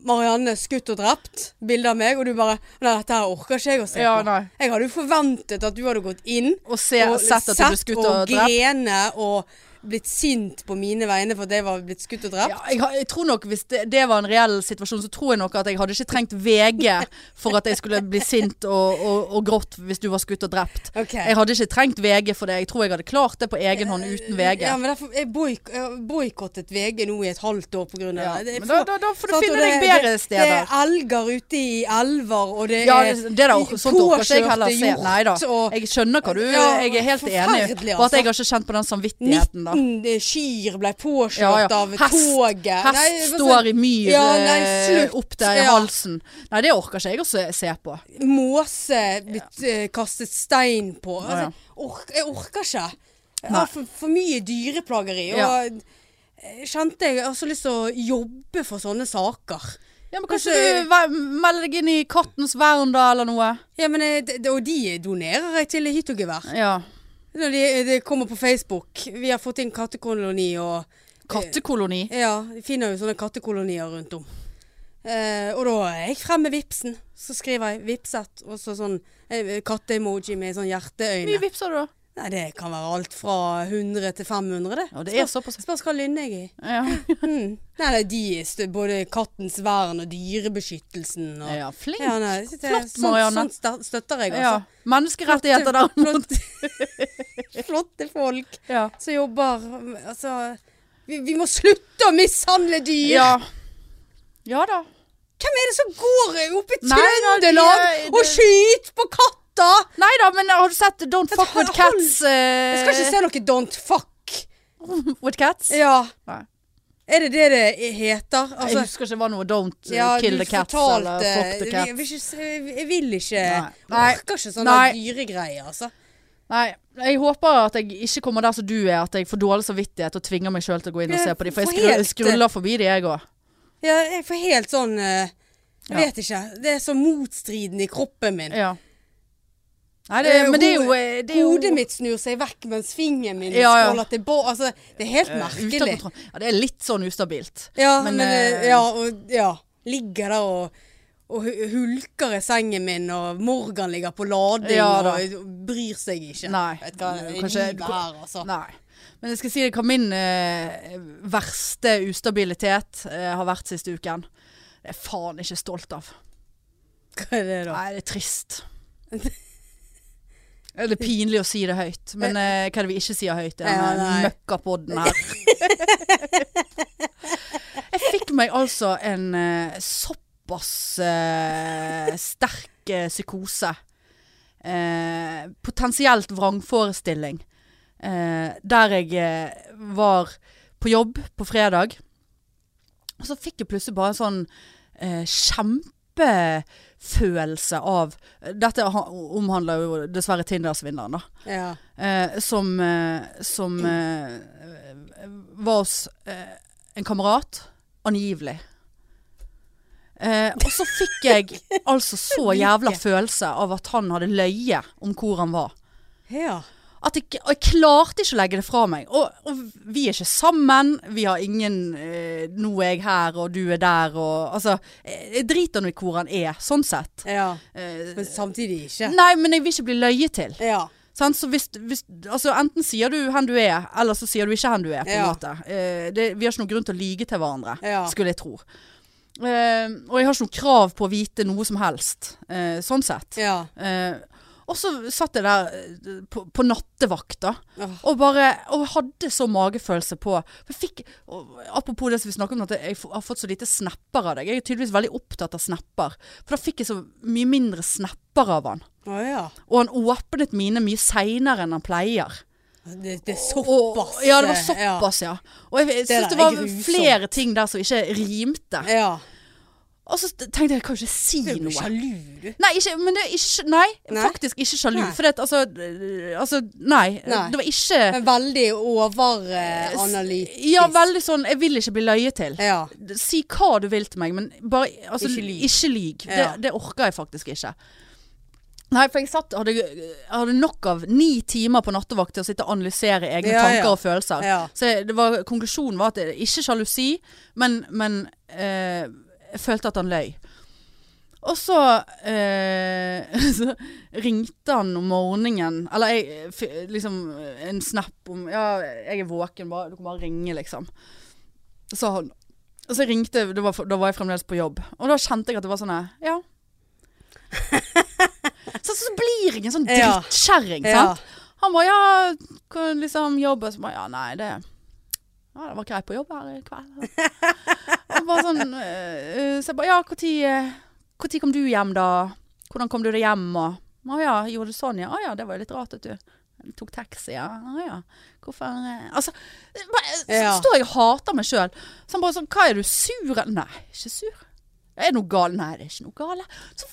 [SPEAKER 2] Marianne skutt og drept. Bilde av meg. Og du bare Nei, dette her orker ikke jeg å se
[SPEAKER 1] Ja,
[SPEAKER 2] på.
[SPEAKER 1] nei.
[SPEAKER 2] Jeg hadde jo forventet at du hadde gått inn
[SPEAKER 1] Og se, sett at du ble skutt og, drept.
[SPEAKER 2] grene og blitt sint på mine vegne for at jeg var blitt skutt og drept.
[SPEAKER 1] Ja, jeg, har- jeg tror nok Hvis det, det var en reell situasjon, så tror jeg nok at jeg hadde ikke trengt VG for at jeg skulle bli sint og, og, og grått hvis du var skutt og drept.
[SPEAKER 2] Ok.
[SPEAKER 1] Jeg hadde ikke trengt VG for det. Jeg tror jeg hadde klart det på egen hånd uten VG.
[SPEAKER 2] Eh, Ja, men derfor, jeg boik- jeg har boikottet VG nå i et halvt år pga.
[SPEAKER 1] Ja,
[SPEAKER 2] det. Jeg
[SPEAKER 1] men da-
[SPEAKER 2] får-
[SPEAKER 1] da- da får
[SPEAKER 2] sant,
[SPEAKER 1] du
[SPEAKER 2] og
[SPEAKER 1] finne
[SPEAKER 2] det-
[SPEAKER 1] deg bedre
[SPEAKER 2] det- Det
[SPEAKER 1] steder.
[SPEAKER 2] er elger ute i elver, og det er
[SPEAKER 1] Ja, det, det der, sånt orker ikke jeg heller se.
[SPEAKER 2] påkjørte
[SPEAKER 1] Nei da.
[SPEAKER 2] hjort, og
[SPEAKER 1] Jeg skjønner hva du
[SPEAKER 2] Ja,
[SPEAKER 1] Jeg er helt enig.
[SPEAKER 2] forferdelig,
[SPEAKER 1] Bare at jeg
[SPEAKER 2] altså.
[SPEAKER 1] har ikke kjent på den samvittigheten, da.
[SPEAKER 2] 19 kyr ble påkjørt
[SPEAKER 1] Ja, ja.
[SPEAKER 2] av
[SPEAKER 1] Hest-
[SPEAKER 2] toget.
[SPEAKER 1] Hest
[SPEAKER 2] Nei, det var sånn-
[SPEAKER 1] står i myr
[SPEAKER 2] Ja, nei,
[SPEAKER 1] eh,
[SPEAKER 2] slutt.
[SPEAKER 1] opp der i
[SPEAKER 2] Ja.
[SPEAKER 1] halsen. Nei, det orker ikke jeg å se se på.
[SPEAKER 2] Måse blitt eh, kastet stein på.
[SPEAKER 1] Ja, ja.
[SPEAKER 2] Altså, ork, jeg orker ikke. Jeg
[SPEAKER 1] Nei.
[SPEAKER 2] har for, for mye dyreplageri. Og
[SPEAKER 1] Ja.
[SPEAKER 2] jeg kjente jeg har så lyst til å jobbe for sånne saker.
[SPEAKER 1] Ja, men
[SPEAKER 2] kanskje
[SPEAKER 1] Kanskje du ver- melder deg inn i Kattens vern, da, eller noe?
[SPEAKER 2] Ja, men eh, det- det- Og de donerer jeg til i hytt og gevær.
[SPEAKER 1] Ja.
[SPEAKER 2] Når de, de kommer på Facebook. Vi har fått inn kattekoloni og
[SPEAKER 1] Kattekoloni.
[SPEAKER 2] Ja, vi finner jo sånne kattekolonier rundt om. Eh, og da er jeg fremme med vipsen. Så skriver jeg 'vipset', og så sånn eh, katteemoji med sånn
[SPEAKER 1] Hvor mye
[SPEAKER 2] hjerteøyne.
[SPEAKER 1] vipser du, da?
[SPEAKER 2] Nei, det kan være alt fra 100 til 500, det.
[SPEAKER 1] Ja, det er såpass.
[SPEAKER 2] Spørs hva lynne jeg er i.
[SPEAKER 1] Ja.
[SPEAKER 2] Mm. Nei, nei, de er stø- både kattens vern og dyrebeskyttelsen og
[SPEAKER 1] ja, flink.
[SPEAKER 2] Ja, nei, det,
[SPEAKER 1] Flott,
[SPEAKER 2] sånt-
[SPEAKER 1] Marianne.
[SPEAKER 2] Sånt stø- støtter jeg,
[SPEAKER 1] Ja.
[SPEAKER 2] altså.
[SPEAKER 1] Menneskerettigheter, derimot.
[SPEAKER 2] Flotte folk
[SPEAKER 1] Ja.
[SPEAKER 2] som jobber Altså, vi, vi må slutte å mishandle dyr!
[SPEAKER 1] ja. Ja da.
[SPEAKER 2] Hvem er det som går opp i
[SPEAKER 1] Nei, da, de
[SPEAKER 2] Trøndelag
[SPEAKER 1] er-
[SPEAKER 2] og
[SPEAKER 1] det-
[SPEAKER 2] skyter på katter?
[SPEAKER 1] Nei da, men har du sett Don't Fuck
[SPEAKER 2] hold-
[SPEAKER 1] With Cats? eh,
[SPEAKER 2] Jeg skal ikke se noe don't fuck.
[SPEAKER 1] With Cats?
[SPEAKER 2] Ja.
[SPEAKER 1] Nei.
[SPEAKER 2] Er det det det heter? Altså,
[SPEAKER 1] jeg husker ikke det var noe Don't eh,
[SPEAKER 2] ja, du
[SPEAKER 1] Kill the Cats
[SPEAKER 2] fortalte-
[SPEAKER 1] eller Fuck the
[SPEAKER 2] jeg- Jeg
[SPEAKER 1] Cats.
[SPEAKER 2] vil ikke, se- jeg vil ikke
[SPEAKER 1] Nei.
[SPEAKER 2] Orker ikke sånne
[SPEAKER 1] Nei.
[SPEAKER 2] dyregreier, altså.
[SPEAKER 1] Nei, jeg håper at jeg ikke kommer der som du er, at jeg får dårlig samvittighet og tvinger meg sjøl til å gå inn og
[SPEAKER 2] Ja,
[SPEAKER 1] se på dem. For jeg
[SPEAKER 2] for
[SPEAKER 1] skru,
[SPEAKER 2] helt-
[SPEAKER 1] skruller forbi de, jeg òg.
[SPEAKER 2] Ja, jeg får helt sånn eh, Jeg
[SPEAKER 1] Ja.
[SPEAKER 2] vet ikke. Det er så motstridende i kroppen min.
[SPEAKER 1] Ja. Nei, det,
[SPEAKER 2] Eh,
[SPEAKER 1] men det er jo
[SPEAKER 2] ho-
[SPEAKER 1] eh, det er jo,
[SPEAKER 2] Hodet mitt snur seg vekk mens fingeren min
[SPEAKER 1] Ja, ja.
[SPEAKER 2] skåler tilbake. Altså, det er helt
[SPEAKER 1] eh, ute av
[SPEAKER 2] merkelig.
[SPEAKER 1] kontroll. Ja, det er litt sånn ustabilt.
[SPEAKER 2] Ja,
[SPEAKER 1] Men,
[SPEAKER 2] men,
[SPEAKER 1] eh,
[SPEAKER 2] eh, ja, og, ja. Ligger der og, og hu- hulker i sengen min, og Morgan ligger på lading
[SPEAKER 1] Ja, da.
[SPEAKER 2] og bryr seg ikke.
[SPEAKER 1] Nei.
[SPEAKER 2] Vet hva,
[SPEAKER 1] Kanskje-
[SPEAKER 2] livet her, altså.
[SPEAKER 1] Nei. Men jeg skal si deg hva min eh, verste ustabilitet eh, har vært siste uken. Det er jeg faen ikke stolt av.
[SPEAKER 2] Hva er det da?
[SPEAKER 1] Nei, det er trist. Eller Eh, Det er pinlig å si det høyt, men eh, hva er det vi ikke sier høyt? Ja,
[SPEAKER 2] Ja, nei.
[SPEAKER 1] Møkkapodden her. Jeg fikk meg altså en eh, såpass eh, sterk eh, psykose. Eh, potensielt vrangforestilling. Eh, der jeg eh, var på jobb på fredag. Og så fikk jeg plutselig bare en sånn eh, kjempefølelse av Dette ha- omhandler jo dessverre Tinder-svindleren, da
[SPEAKER 2] Ja.
[SPEAKER 1] eh, som, eh, som eh, var hos eh, en kamerat, angivelig. Eh, og så fikk jeg altså så jævla følelse av at han hadde løyet om hvor han var.
[SPEAKER 2] ja.
[SPEAKER 1] At jeg, og jeg klarte ikke å legge det fra meg. Og, og vi er ikke sammen. Vi har ingen eh, 'Nå er jeg her, og du er der', og Altså, jeg, jeg driter nå i hvor han er, sånn sett.
[SPEAKER 2] Ja.
[SPEAKER 1] Eh,
[SPEAKER 2] Men samtidig ikke.
[SPEAKER 1] nei, men jeg vil ikke bli løyet til.
[SPEAKER 2] Ja.
[SPEAKER 1] Sant? Så hvis, hvis, altså enten sier du hen du er, eller så sier du ikke hen du er. På en
[SPEAKER 2] Ja.
[SPEAKER 1] måte. Eh, det, vi har ikke noen grunn til å lyge til hverandre,
[SPEAKER 2] Ja.
[SPEAKER 1] skulle jeg tro. Eh, og jeg har ikke noe krav på å vite noe som helst, eh, sånn sett.
[SPEAKER 2] Ja.
[SPEAKER 1] Eh, og så satt jeg der eh, på, på nattevakt, da.
[SPEAKER 2] Åh.
[SPEAKER 1] Og bare og hadde så magefølelse på for jeg fikk, og, Apropos det som vi snakket om, at jeg f- har fått så lite snapper av deg. Jeg er tydeligvis veldig opptatt av snapper. For da fikk jeg så mye mindre snapper av han.
[SPEAKER 2] Å ja.
[SPEAKER 1] Og han åpnet mine mye seinere enn han pleier.
[SPEAKER 2] Det, det er
[SPEAKER 1] Og,
[SPEAKER 2] såpass.
[SPEAKER 1] ja, det var
[SPEAKER 2] eh,
[SPEAKER 1] såpass, ja. Og jeg, jeg
[SPEAKER 2] Det der
[SPEAKER 1] syntes det
[SPEAKER 2] er
[SPEAKER 1] var
[SPEAKER 2] grusomt.
[SPEAKER 1] flere ting der som ikke rimte.
[SPEAKER 2] eh, Ja. ja.
[SPEAKER 1] Og så tenkte jeg, jeg kan jo ikke si
[SPEAKER 2] Du er jo
[SPEAKER 1] noe.
[SPEAKER 2] sjalu, du.
[SPEAKER 1] Nei, ikke, men det er ikke, nei,
[SPEAKER 2] Nei?
[SPEAKER 1] faktisk ikke sjalu.
[SPEAKER 2] Nei.
[SPEAKER 1] For det, at, altså, d- altså nei,
[SPEAKER 2] Nei.
[SPEAKER 1] Det var ikke
[SPEAKER 2] Men veldig overanalytisk.
[SPEAKER 1] Ja, veldig sånn Jeg vil ikke bli løyet til.
[SPEAKER 2] Ja.
[SPEAKER 1] Si hva du vil til meg, men bare altså,
[SPEAKER 2] Ikke
[SPEAKER 1] Ikke
[SPEAKER 2] lyg.
[SPEAKER 1] lyg. Det,
[SPEAKER 2] Ja.
[SPEAKER 1] det orker jeg faktisk ikke. Nei, for jeg satt, hadde, hadde nok av ni timer på nattevakt til å sitte og analysere egne
[SPEAKER 2] Ja,
[SPEAKER 1] tanker
[SPEAKER 2] ja.
[SPEAKER 1] og følelser.
[SPEAKER 2] Ja.
[SPEAKER 1] Så jeg- det var, konklusjonen var at det ikke sjalusi, men, men eh, jeg følte at han løy. Og så, eh, så ringte han om morgenen Eller jeg, f- liksom en snap om Ja, jeg er våken, bare, du kan bare ringe, liksom. Sa han. Og så ringte det var, Da var jeg fremdeles på jobb. Og da kjente jeg at det var sånn her, Ja. så, så blir jeg en sånn
[SPEAKER 2] Ja.
[SPEAKER 1] drittkjerring,
[SPEAKER 2] Ja.
[SPEAKER 1] sant. Han bare Ja, hva- liksom jobb Og så bare Ja, nei, det ja, det var greit på jobb her i kveld. Og bare sånn, eh, eh, så jeg bare, ja, hvor tid, eh, hvor tid kom du hjem da? Hvordan kom du deg hjem? Og, å ja, gjorde du sånn? Ja, å ja, det var jo litt rart at du tok taxi. Ja, å ja. Hvorfor? eh, Altså, bare, så
[SPEAKER 2] Ja.
[SPEAKER 1] står jeg og hater meg sjøl. Så han bare sånn, hva er du sur? av?» Nei, ikke sur. Er det noe galt? Nei, det er ikke noe galt. Så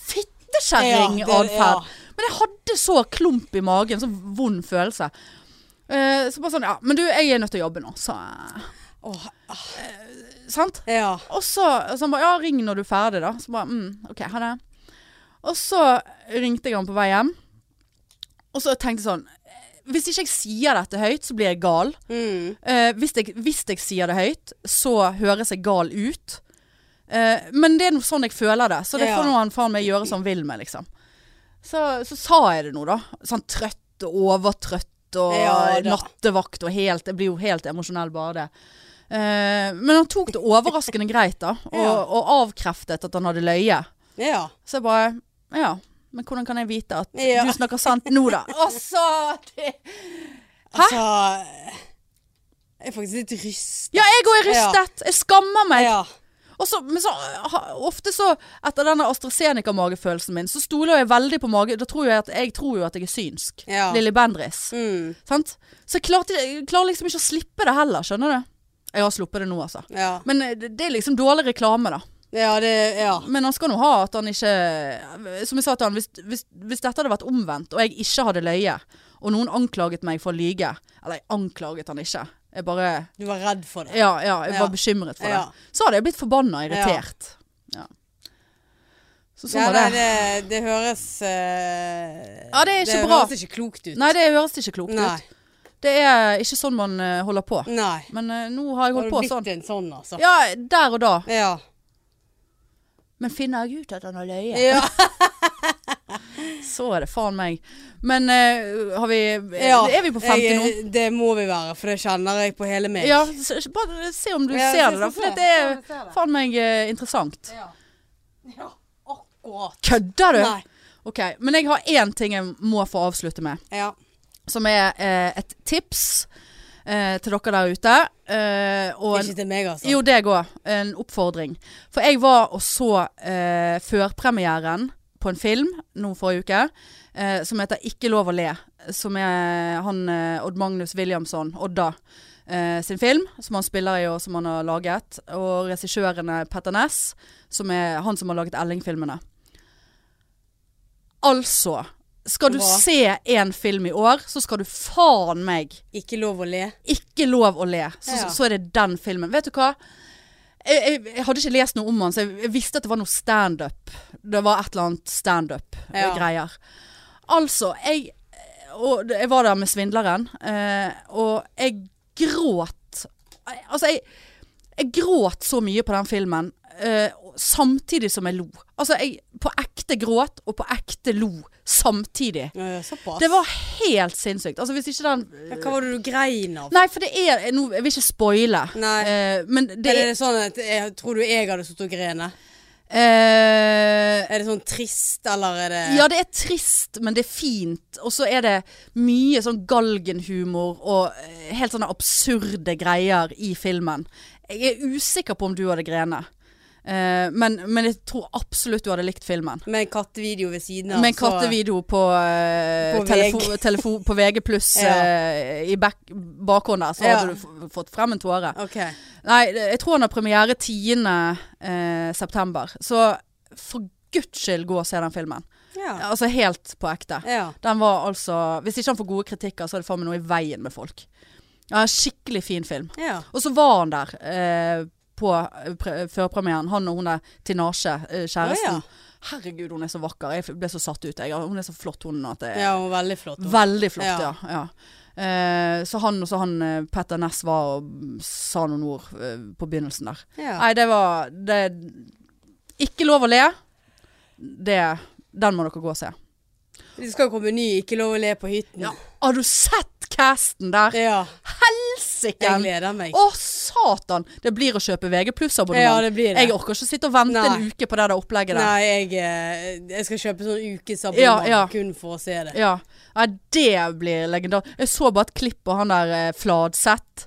[SPEAKER 1] fittekjerringatferd.
[SPEAKER 2] Ja, det- ja.
[SPEAKER 1] Men jeg hadde så klump i magen, så vond følelse. Eh, så bare sånn, ja, men du, jeg er nødt til å jobbe nå, så
[SPEAKER 2] Åh,
[SPEAKER 1] Sant?
[SPEAKER 2] ja.
[SPEAKER 1] Og så, så han bare, ja, ring når du er ferdig da. Så bare, mm, ok, ha det. Og så ringte jeg han på vei hjem. Og så tenkte jeg sånn, hvis ikke jeg sier dette høyt, så blir jeg gal.
[SPEAKER 2] Mm.
[SPEAKER 1] Eh, hvis, jeg, hvis jeg sier det høyt, så høres jeg gal ut. Eh, men det er noe sånn jeg føler det, så det
[SPEAKER 2] Ja.
[SPEAKER 1] får nå han faen meg gjøre som han vil med, liksom. Så, så sa jeg det nå, da. Sånn trøtt og overtrøtt og
[SPEAKER 2] Ja, da.
[SPEAKER 1] nattevakt og helt Jeg blir jo helt emosjonell bare av det. Eh, men han tok det overraskende greit, da. Og,
[SPEAKER 2] Ja.
[SPEAKER 1] og avkreftet at han hadde løyet.
[SPEAKER 2] Ja.
[SPEAKER 1] Så jeg bare Ja, men hvordan kan jeg vite at
[SPEAKER 2] Ja.
[SPEAKER 1] du snakker sant nå, da? Altså, det
[SPEAKER 2] Altså Jeg er faktisk litt rysta.
[SPEAKER 1] Ja, jeg òg er rystet! Jeg skammer meg.
[SPEAKER 2] Ja.
[SPEAKER 1] Og så, men så, ha- ofte så, etter denne AstraZeneca-magefølelsen min, så stoler jeg veldig på mage... Da tror jeg at jeg, tror jo at jeg er synsk.
[SPEAKER 2] Ja.
[SPEAKER 1] Lilly Bendriss.
[SPEAKER 2] Mm.
[SPEAKER 1] Sant? Så jeg klarte- jeg klarer liksom ikke å slippe det heller, skjønner du? Jeg har sluppet det nå, altså.
[SPEAKER 2] ja.
[SPEAKER 1] Men eh, det det er liksom dårlig reklame, da.
[SPEAKER 2] Ja, det Ja.
[SPEAKER 1] Men han skal nå ha at han ikke Som jeg sa til han, hvis, hvis, hvis dette hadde vært omvendt, og jeg ikke hadde løyet, og noen anklaget meg for å lyge Eller jeg anklaget han ikke. Jeg bare
[SPEAKER 2] Du var redd for det.
[SPEAKER 1] Ja, ja, jeg var
[SPEAKER 2] Ja.
[SPEAKER 1] bekymret for
[SPEAKER 2] Ja.
[SPEAKER 1] det. Så hadde jeg blitt forbanna og irritert. Ja. Så sånn
[SPEAKER 2] Ja,
[SPEAKER 1] var
[SPEAKER 2] nei,
[SPEAKER 1] det.
[SPEAKER 2] det, det høres eh,
[SPEAKER 1] Ja, det er ikke bra.
[SPEAKER 2] høres ikke klokt ut.
[SPEAKER 1] Nei, det høres ikke klokt
[SPEAKER 2] Nei.
[SPEAKER 1] ut. Det er ikke sånn man eh, holder på.
[SPEAKER 2] Nei.
[SPEAKER 1] Men eh, nå har jeg
[SPEAKER 2] Har
[SPEAKER 1] holdt
[SPEAKER 2] du
[SPEAKER 1] på
[SPEAKER 2] blitt
[SPEAKER 1] sånn.
[SPEAKER 2] en sånn, altså?
[SPEAKER 1] Ja, der og da.
[SPEAKER 2] Ja.
[SPEAKER 1] Men finner jeg ut at han har løyet,
[SPEAKER 2] Ja.
[SPEAKER 1] så er det faen meg. Men eh, har vi
[SPEAKER 2] ja.
[SPEAKER 1] Er vi på 50 nå?
[SPEAKER 2] jeg, Det må vi være, for det kjenner jeg på hele meg.
[SPEAKER 1] Ja, s- bare se om du
[SPEAKER 2] Ja,
[SPEAKER 1] ser
[SPEAKER 2] jeg
[SPEAKER 1] det,
[SPEAKER 2] skal
[SPEAKER 1] da.
[SPEAKER 2] se.
[SPEAKER 1] For det er
[SPEAKER 2] Jeg skal se det.
[SPEAKER 1] faen meg eh, interessant.
[SPEAKER 2] Ja. ja. Akkurat.
[SPEAKER 1] Kødder du?
[SPEAKER 2] Nei.
[SPEAKER 1] Ok, Men jeg har én ting jeg må få avslutte med.
[SPEAKER 2] Ja.
[SPEAKER 1] som er eh, et tips eh, til dere der ute. Eh, og en,
[SPEAKER 2] Ikke til meg, altså.
[SPEAKER 1] jo, det går. En oppfordring. For jeg var og så eh, førpremieren på en film nå forrige uke eh, som heter 'Ikke lov å le'. Som er han eh, Odd Magnus Williamson, Odda, eh, sin film. Som han spiller i og som han har laget. Og regissøren er Petter Næss, som er han som har laget Elling-filmene. Altså Skal du
[SPEAKER 2] Hva?
[SPEAKER 1] se en film i år, så skal du faen meg
[SPEAKER 2] Ikke lov å le.
[SPEAKER 1] ikke lov å le. Så,
[SPEAKER 2] Ja.
[SPEAKER 1] så er det den filmen. Vet du hva? Jeg, jeg, jeg hadde ikke lest noe om han, så jeg, jeg visste at det var noe standup. Det var et eller annet standup-greier.
[SPEAKER 2] Ja.
[SPEAKER 1] Altså, eh, jeg og det- jeg var der med svindleren, eh, og jeg gråt. Jeg- Altså, jeg, jeg gråt så mye på den filmen, eh, samtidig som jeg lo. Altså, jeg på ekte gråt, og på ekte lo, samtidig.
[SPEAKER 2] Ja, Såpass.
[SPEAKER 1] Det var helt sinnssykt. Altså, hvis ikke den
[SPEAKER 2] Ja, Hva var det du grein av?
[SPEAKER 1] Nei, for det er nå- Jeg vil ikke spoile,
[SPEAKER 2] Nei.
[SPEAKER 1] eh, men det
[SPEAKER 2] Er
[SPEAKER 1] er
[SPEAKER 2] det sånn at jeg, Tror du jeg hadde sittet og grenet?
[SPEAKER 1] eh,
[SPEAKER 2] Er det sånn trist, eller er det
[SPEAKER 1] Ja, det er trist, men det er fint. Og så er det mye sånn galgenhumor og eh, helt sånne absurde greier i filmen. Jeg er usikker på om du hadde grene. Eh, men, men jeg tror absolutt du hadde likt filmen.
[SPEAKER 2] med en kattevideo ved siden av?
[SPEAKER 1] Med en
[SPEAKER 2] så-
[SPEAKER 1] kattevideo på, eh,
[SPEAKER 2] På
[SPEAKER 1] telefo-
[SPEAKER 2] VG.
[SPEAKER 1] telefo- på VG pluss
[SPEAKER 2] Ja.
[SPEAKER 1] eh, i back, bakhånd der, så
[SPEAKER 2] Ja.
[SPEAKER 1] hadde du f fått frem en tåre.
[SPEAKER 2] Ok.
[SPEAKER 1] Nei, det- jeg tror han har premiere 10. Eh, september. Så for guds skyld, gå og se den filmen.
[SPEAKER 2] Ja.
[SPEAKER 1] Altså helt på ekte.
[SPEAKER 2] ja.
[SPEAKER 1] Den var altså Hvis ikke han får gode kritikker, så er det faen meg noe i veien med folk. Ja, en skikkelig fin film.
[SPEAKER 2] ja.
[SPEAKER 1] Og så var han der eh, på pre førpremieren, han og hun der Tinasje, eh, kjæresten.
[SPEAKER 2] Å, ja.
[SPEAKER 1] Herregud, hun er så vakker. Jeg ble så satt ut. Jeg. Hun er så flott, hun. At jeg,
[SPEAKER 2] Ja, hun var veldig flott. hun.
[SPEAKER 1] Veldig flott, ja.
[SPEAKER 2] Ja.
[SPEAKER 1] ja. Eh, så han og så han eh, Petter Næss var og mm, sa noen ord eh, på begynnelsen der.
[SPEAKER 2] Ja.
[SPEAKER 1] Nei, det var det, Ikke lov å le. Det, den må dere gå og se.
[SPEAKER 2] Det skal jo komme ny 'Ikke lov å le på hytten'.
[SPEAKER 1] Ja. Har du sett casten der?
[SPEAKER 2] Ja, Jeg
[SPEAKER 1] Sikken!
[SPEAKER 2] gleder meg.
[SPEAKER 1] Å, satan! Det blir å kjøpe VG
[SPEAKER 2] Ja,
[SPEAKER 1] pluss-abonnement.
[SPEAKER 2] det blir
[SPEAKER 1] jeg
[SPEAKER 2] det.
[SPEAKER 1] orker ikke sitte og vente en
[SPEAKER 2] Nei.
[SPEAKER 1] uke på det der opplegget der.
[SPEAKER 2] Nei, jeg, eh, jeg skal kjøpe sånn
[SPEAKER 1] Ja,
[SPEAKER 2] ukesabonnement
[SPEAKER 1] ja.
[SPEAKER 2] kun for å se det.
[SPEAKER 1] Ja. Nei, det blir legendarisk. Jeg så bare et klipp av han der eh, Fladseth.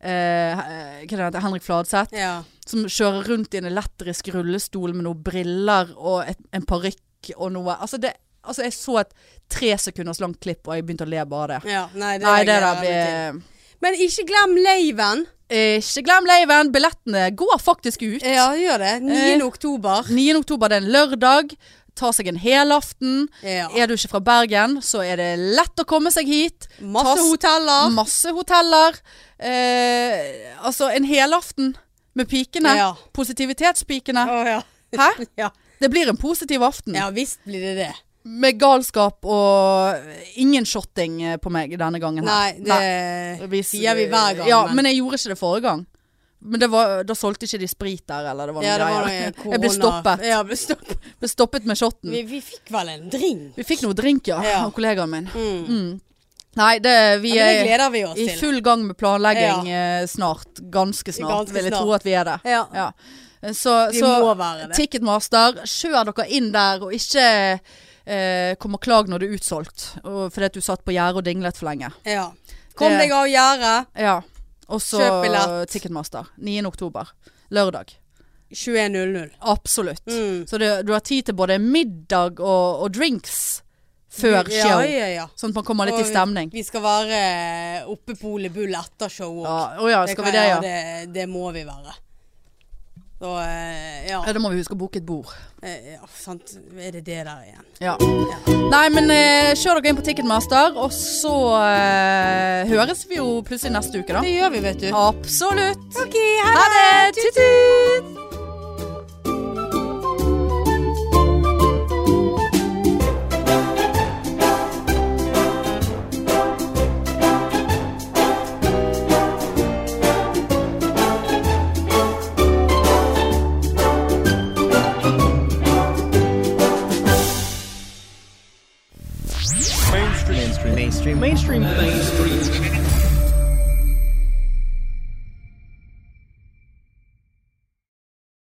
[SPEAKER 1] Eh, hva er det han heter? Henrik Fladseth.
[SPEAKER 2] Ja.
[SPEAKER 1] Som kjører rundt i en elektrisk rullestol med noen briller og et, en parykk og noe. Altså, det, altså, jeg så et tre sekunders langt klipp, og jeg begynte å le bare av det.
[SPEAKER 2] ja. Nei, det,
[SPEAKER 1] Nei,
[SPEAKER 2] gleder
[SPEAKER 1] det
[SPEAKER 2] jeg
[SPEAKER 1] der
[SPEAKER 2] meg til.
[SPEAKER 1] blir
[SPEAKER 2] Men ikke glem laven.
[SPEAKER 1] Ikke glem laven. Billettene går faktisk ut.
[SPEAKER 2] Ja, gjør det. 9.
[SPEAKER 1] Eh.
[SPEAKER 2] oktober.
[SPEAKER 1] 9. oktober det er en lørdag. Ta seg en helaften.
[SPEAKER 2] Ja.
[SPEAKER 1] Er du ikke fra Bergen, så er det lett å komme seg hit.
[SPEAKER 2] Masse
[SPEAKER 1] Tas-
[SPEAKER 2] hoteller.
[SPEAKER 1] Masse hoteller. Eh, altså en helaften med pikene.
[SPEAKER 2] Ja.
[SPEAKER 1] Positivitetspikene.
[SPEAKER 2] Å, ja.
[SPEAKER 1] Hæ?
[SPEAKER 2] Ja.
[SPEAKER 1] Det blir en positiv aften.
[SPEAKER 2] ja visst blir det det.
[SPEAKER 1] Med galskap og ingen shotting eh, på meg denne gangen.
[SPEAKER 2] Nei,
[SPEAKER 1] her.
[SPEAKER 2] det
[SPEAKER 1] Vi-
[SPEAKER 2] sier vi hver gang.
[SPEAKER 1] Ja,
[SPEAKER 2] men-
[SPEAKER 1] men jeg gjorde ikke det forrige gang. Men det var, da solgte ikke de sprit der, eller det var noe
[SPEAKER 2] ja, det var noe
[SPEAKER 1] greier. jeg ble
[SPEAKER 2] korona-
[SPEAKER 1] stoppet. Mm.
[SPEAKER 2] Ja, ble stoppet.
[SPEAKER 1] Ble stoppet med shotten.
[SPEAKER 2] Vi, vi fikk vel en drink.
[SPEAKER 1] Vi fikk noe drink, ja,
[SPEAKER 2] Ja.
[SPEAKER 1] av kollegaen min.
[SPEAKER 2] Mm.
[SPEAKER 1] Nei, det, vi
[SPEAKER 2] Ja, men det
[SPEAKER 1] er
[SPEAKER 2] gleder vi oss
[SPEAKER 1] i
[SPEAKER 2] til.
[SPEAKER 1] full gang med planlegging eh, snart. Ganske snart,
[SPEAKER 2] Ganske
[SPEAKER 1] vil jeg
[SPEAKER 2] snart.
[SPEAKER 1] tro at vi er det.
[SPEAKER 2] Ja.
[SPEAKER 1] Ja. Så,
[SPEAKER 2] Vi
[SPEAKER 1] så
[SPEAKER 2] må være det.
[SPEAKER 1] Ticketmaster, kjør dere inn der, og ikke eh, kom og klag når det er utsolgt. Og, fordi at du satt på gjerdet og dinglet for lenge.
[SPEAKER 2] Ja. Kom
[SPEAKER 1] Det-
[SPEAKER 2] deg av gjerdet.
[SPEAKER 1] Ja. Og så
[SPEAKER 2] Kjøp billett.
[SPEAKER 1] Ticketmaster. 9. oktober. Lørdag.
[SPEAKER 2] 21.00.
[SPEAKER 1] Absolutt.
[SPEAKER 2] Mm.
[SPEAKER 1] Så det, du har tid til både middag og, og drinks før
[SPEAKER 2] Ja,
[SPEAKER 1] show.
[SPEAKER 2] ja, ja.
[SPEAKER 1] Sånn at man kommer litt i
[SPEAKER 2] Og
[SPEAKER 1] stemning.
[SPEAKER 2] Vi skal være eh, oppe på Ole Bull etter showet.
[SPEAKER 1] Ja, å ja, skal vi det, ja.
[SPEAKER 2] det, det må vi være. Så eh, ja.
[SPEAKER 1] Ja, da må vi huske å boke et bord.
[SPEAKER 2] Eh, ja, sant. Er det det der igjen?
[SPEAKER 1] Ja.
[SPEAKER 2] Ja.
[SPEAKER 1] Nei, men eh, kjør dere inn på Ticketmaster, og så eh, høres vi jo plutselig neste uke, da.
[SPEAKER 2] Det gjør vi, vet du.
[SPEAKER 1] Absolutt.
[SPEAKER 2] OK, ha
[SPEAKER 1] Ha det! Tut-tut!
[SPEAKER 3] mainstream, mainstream, mainstream, mainstream.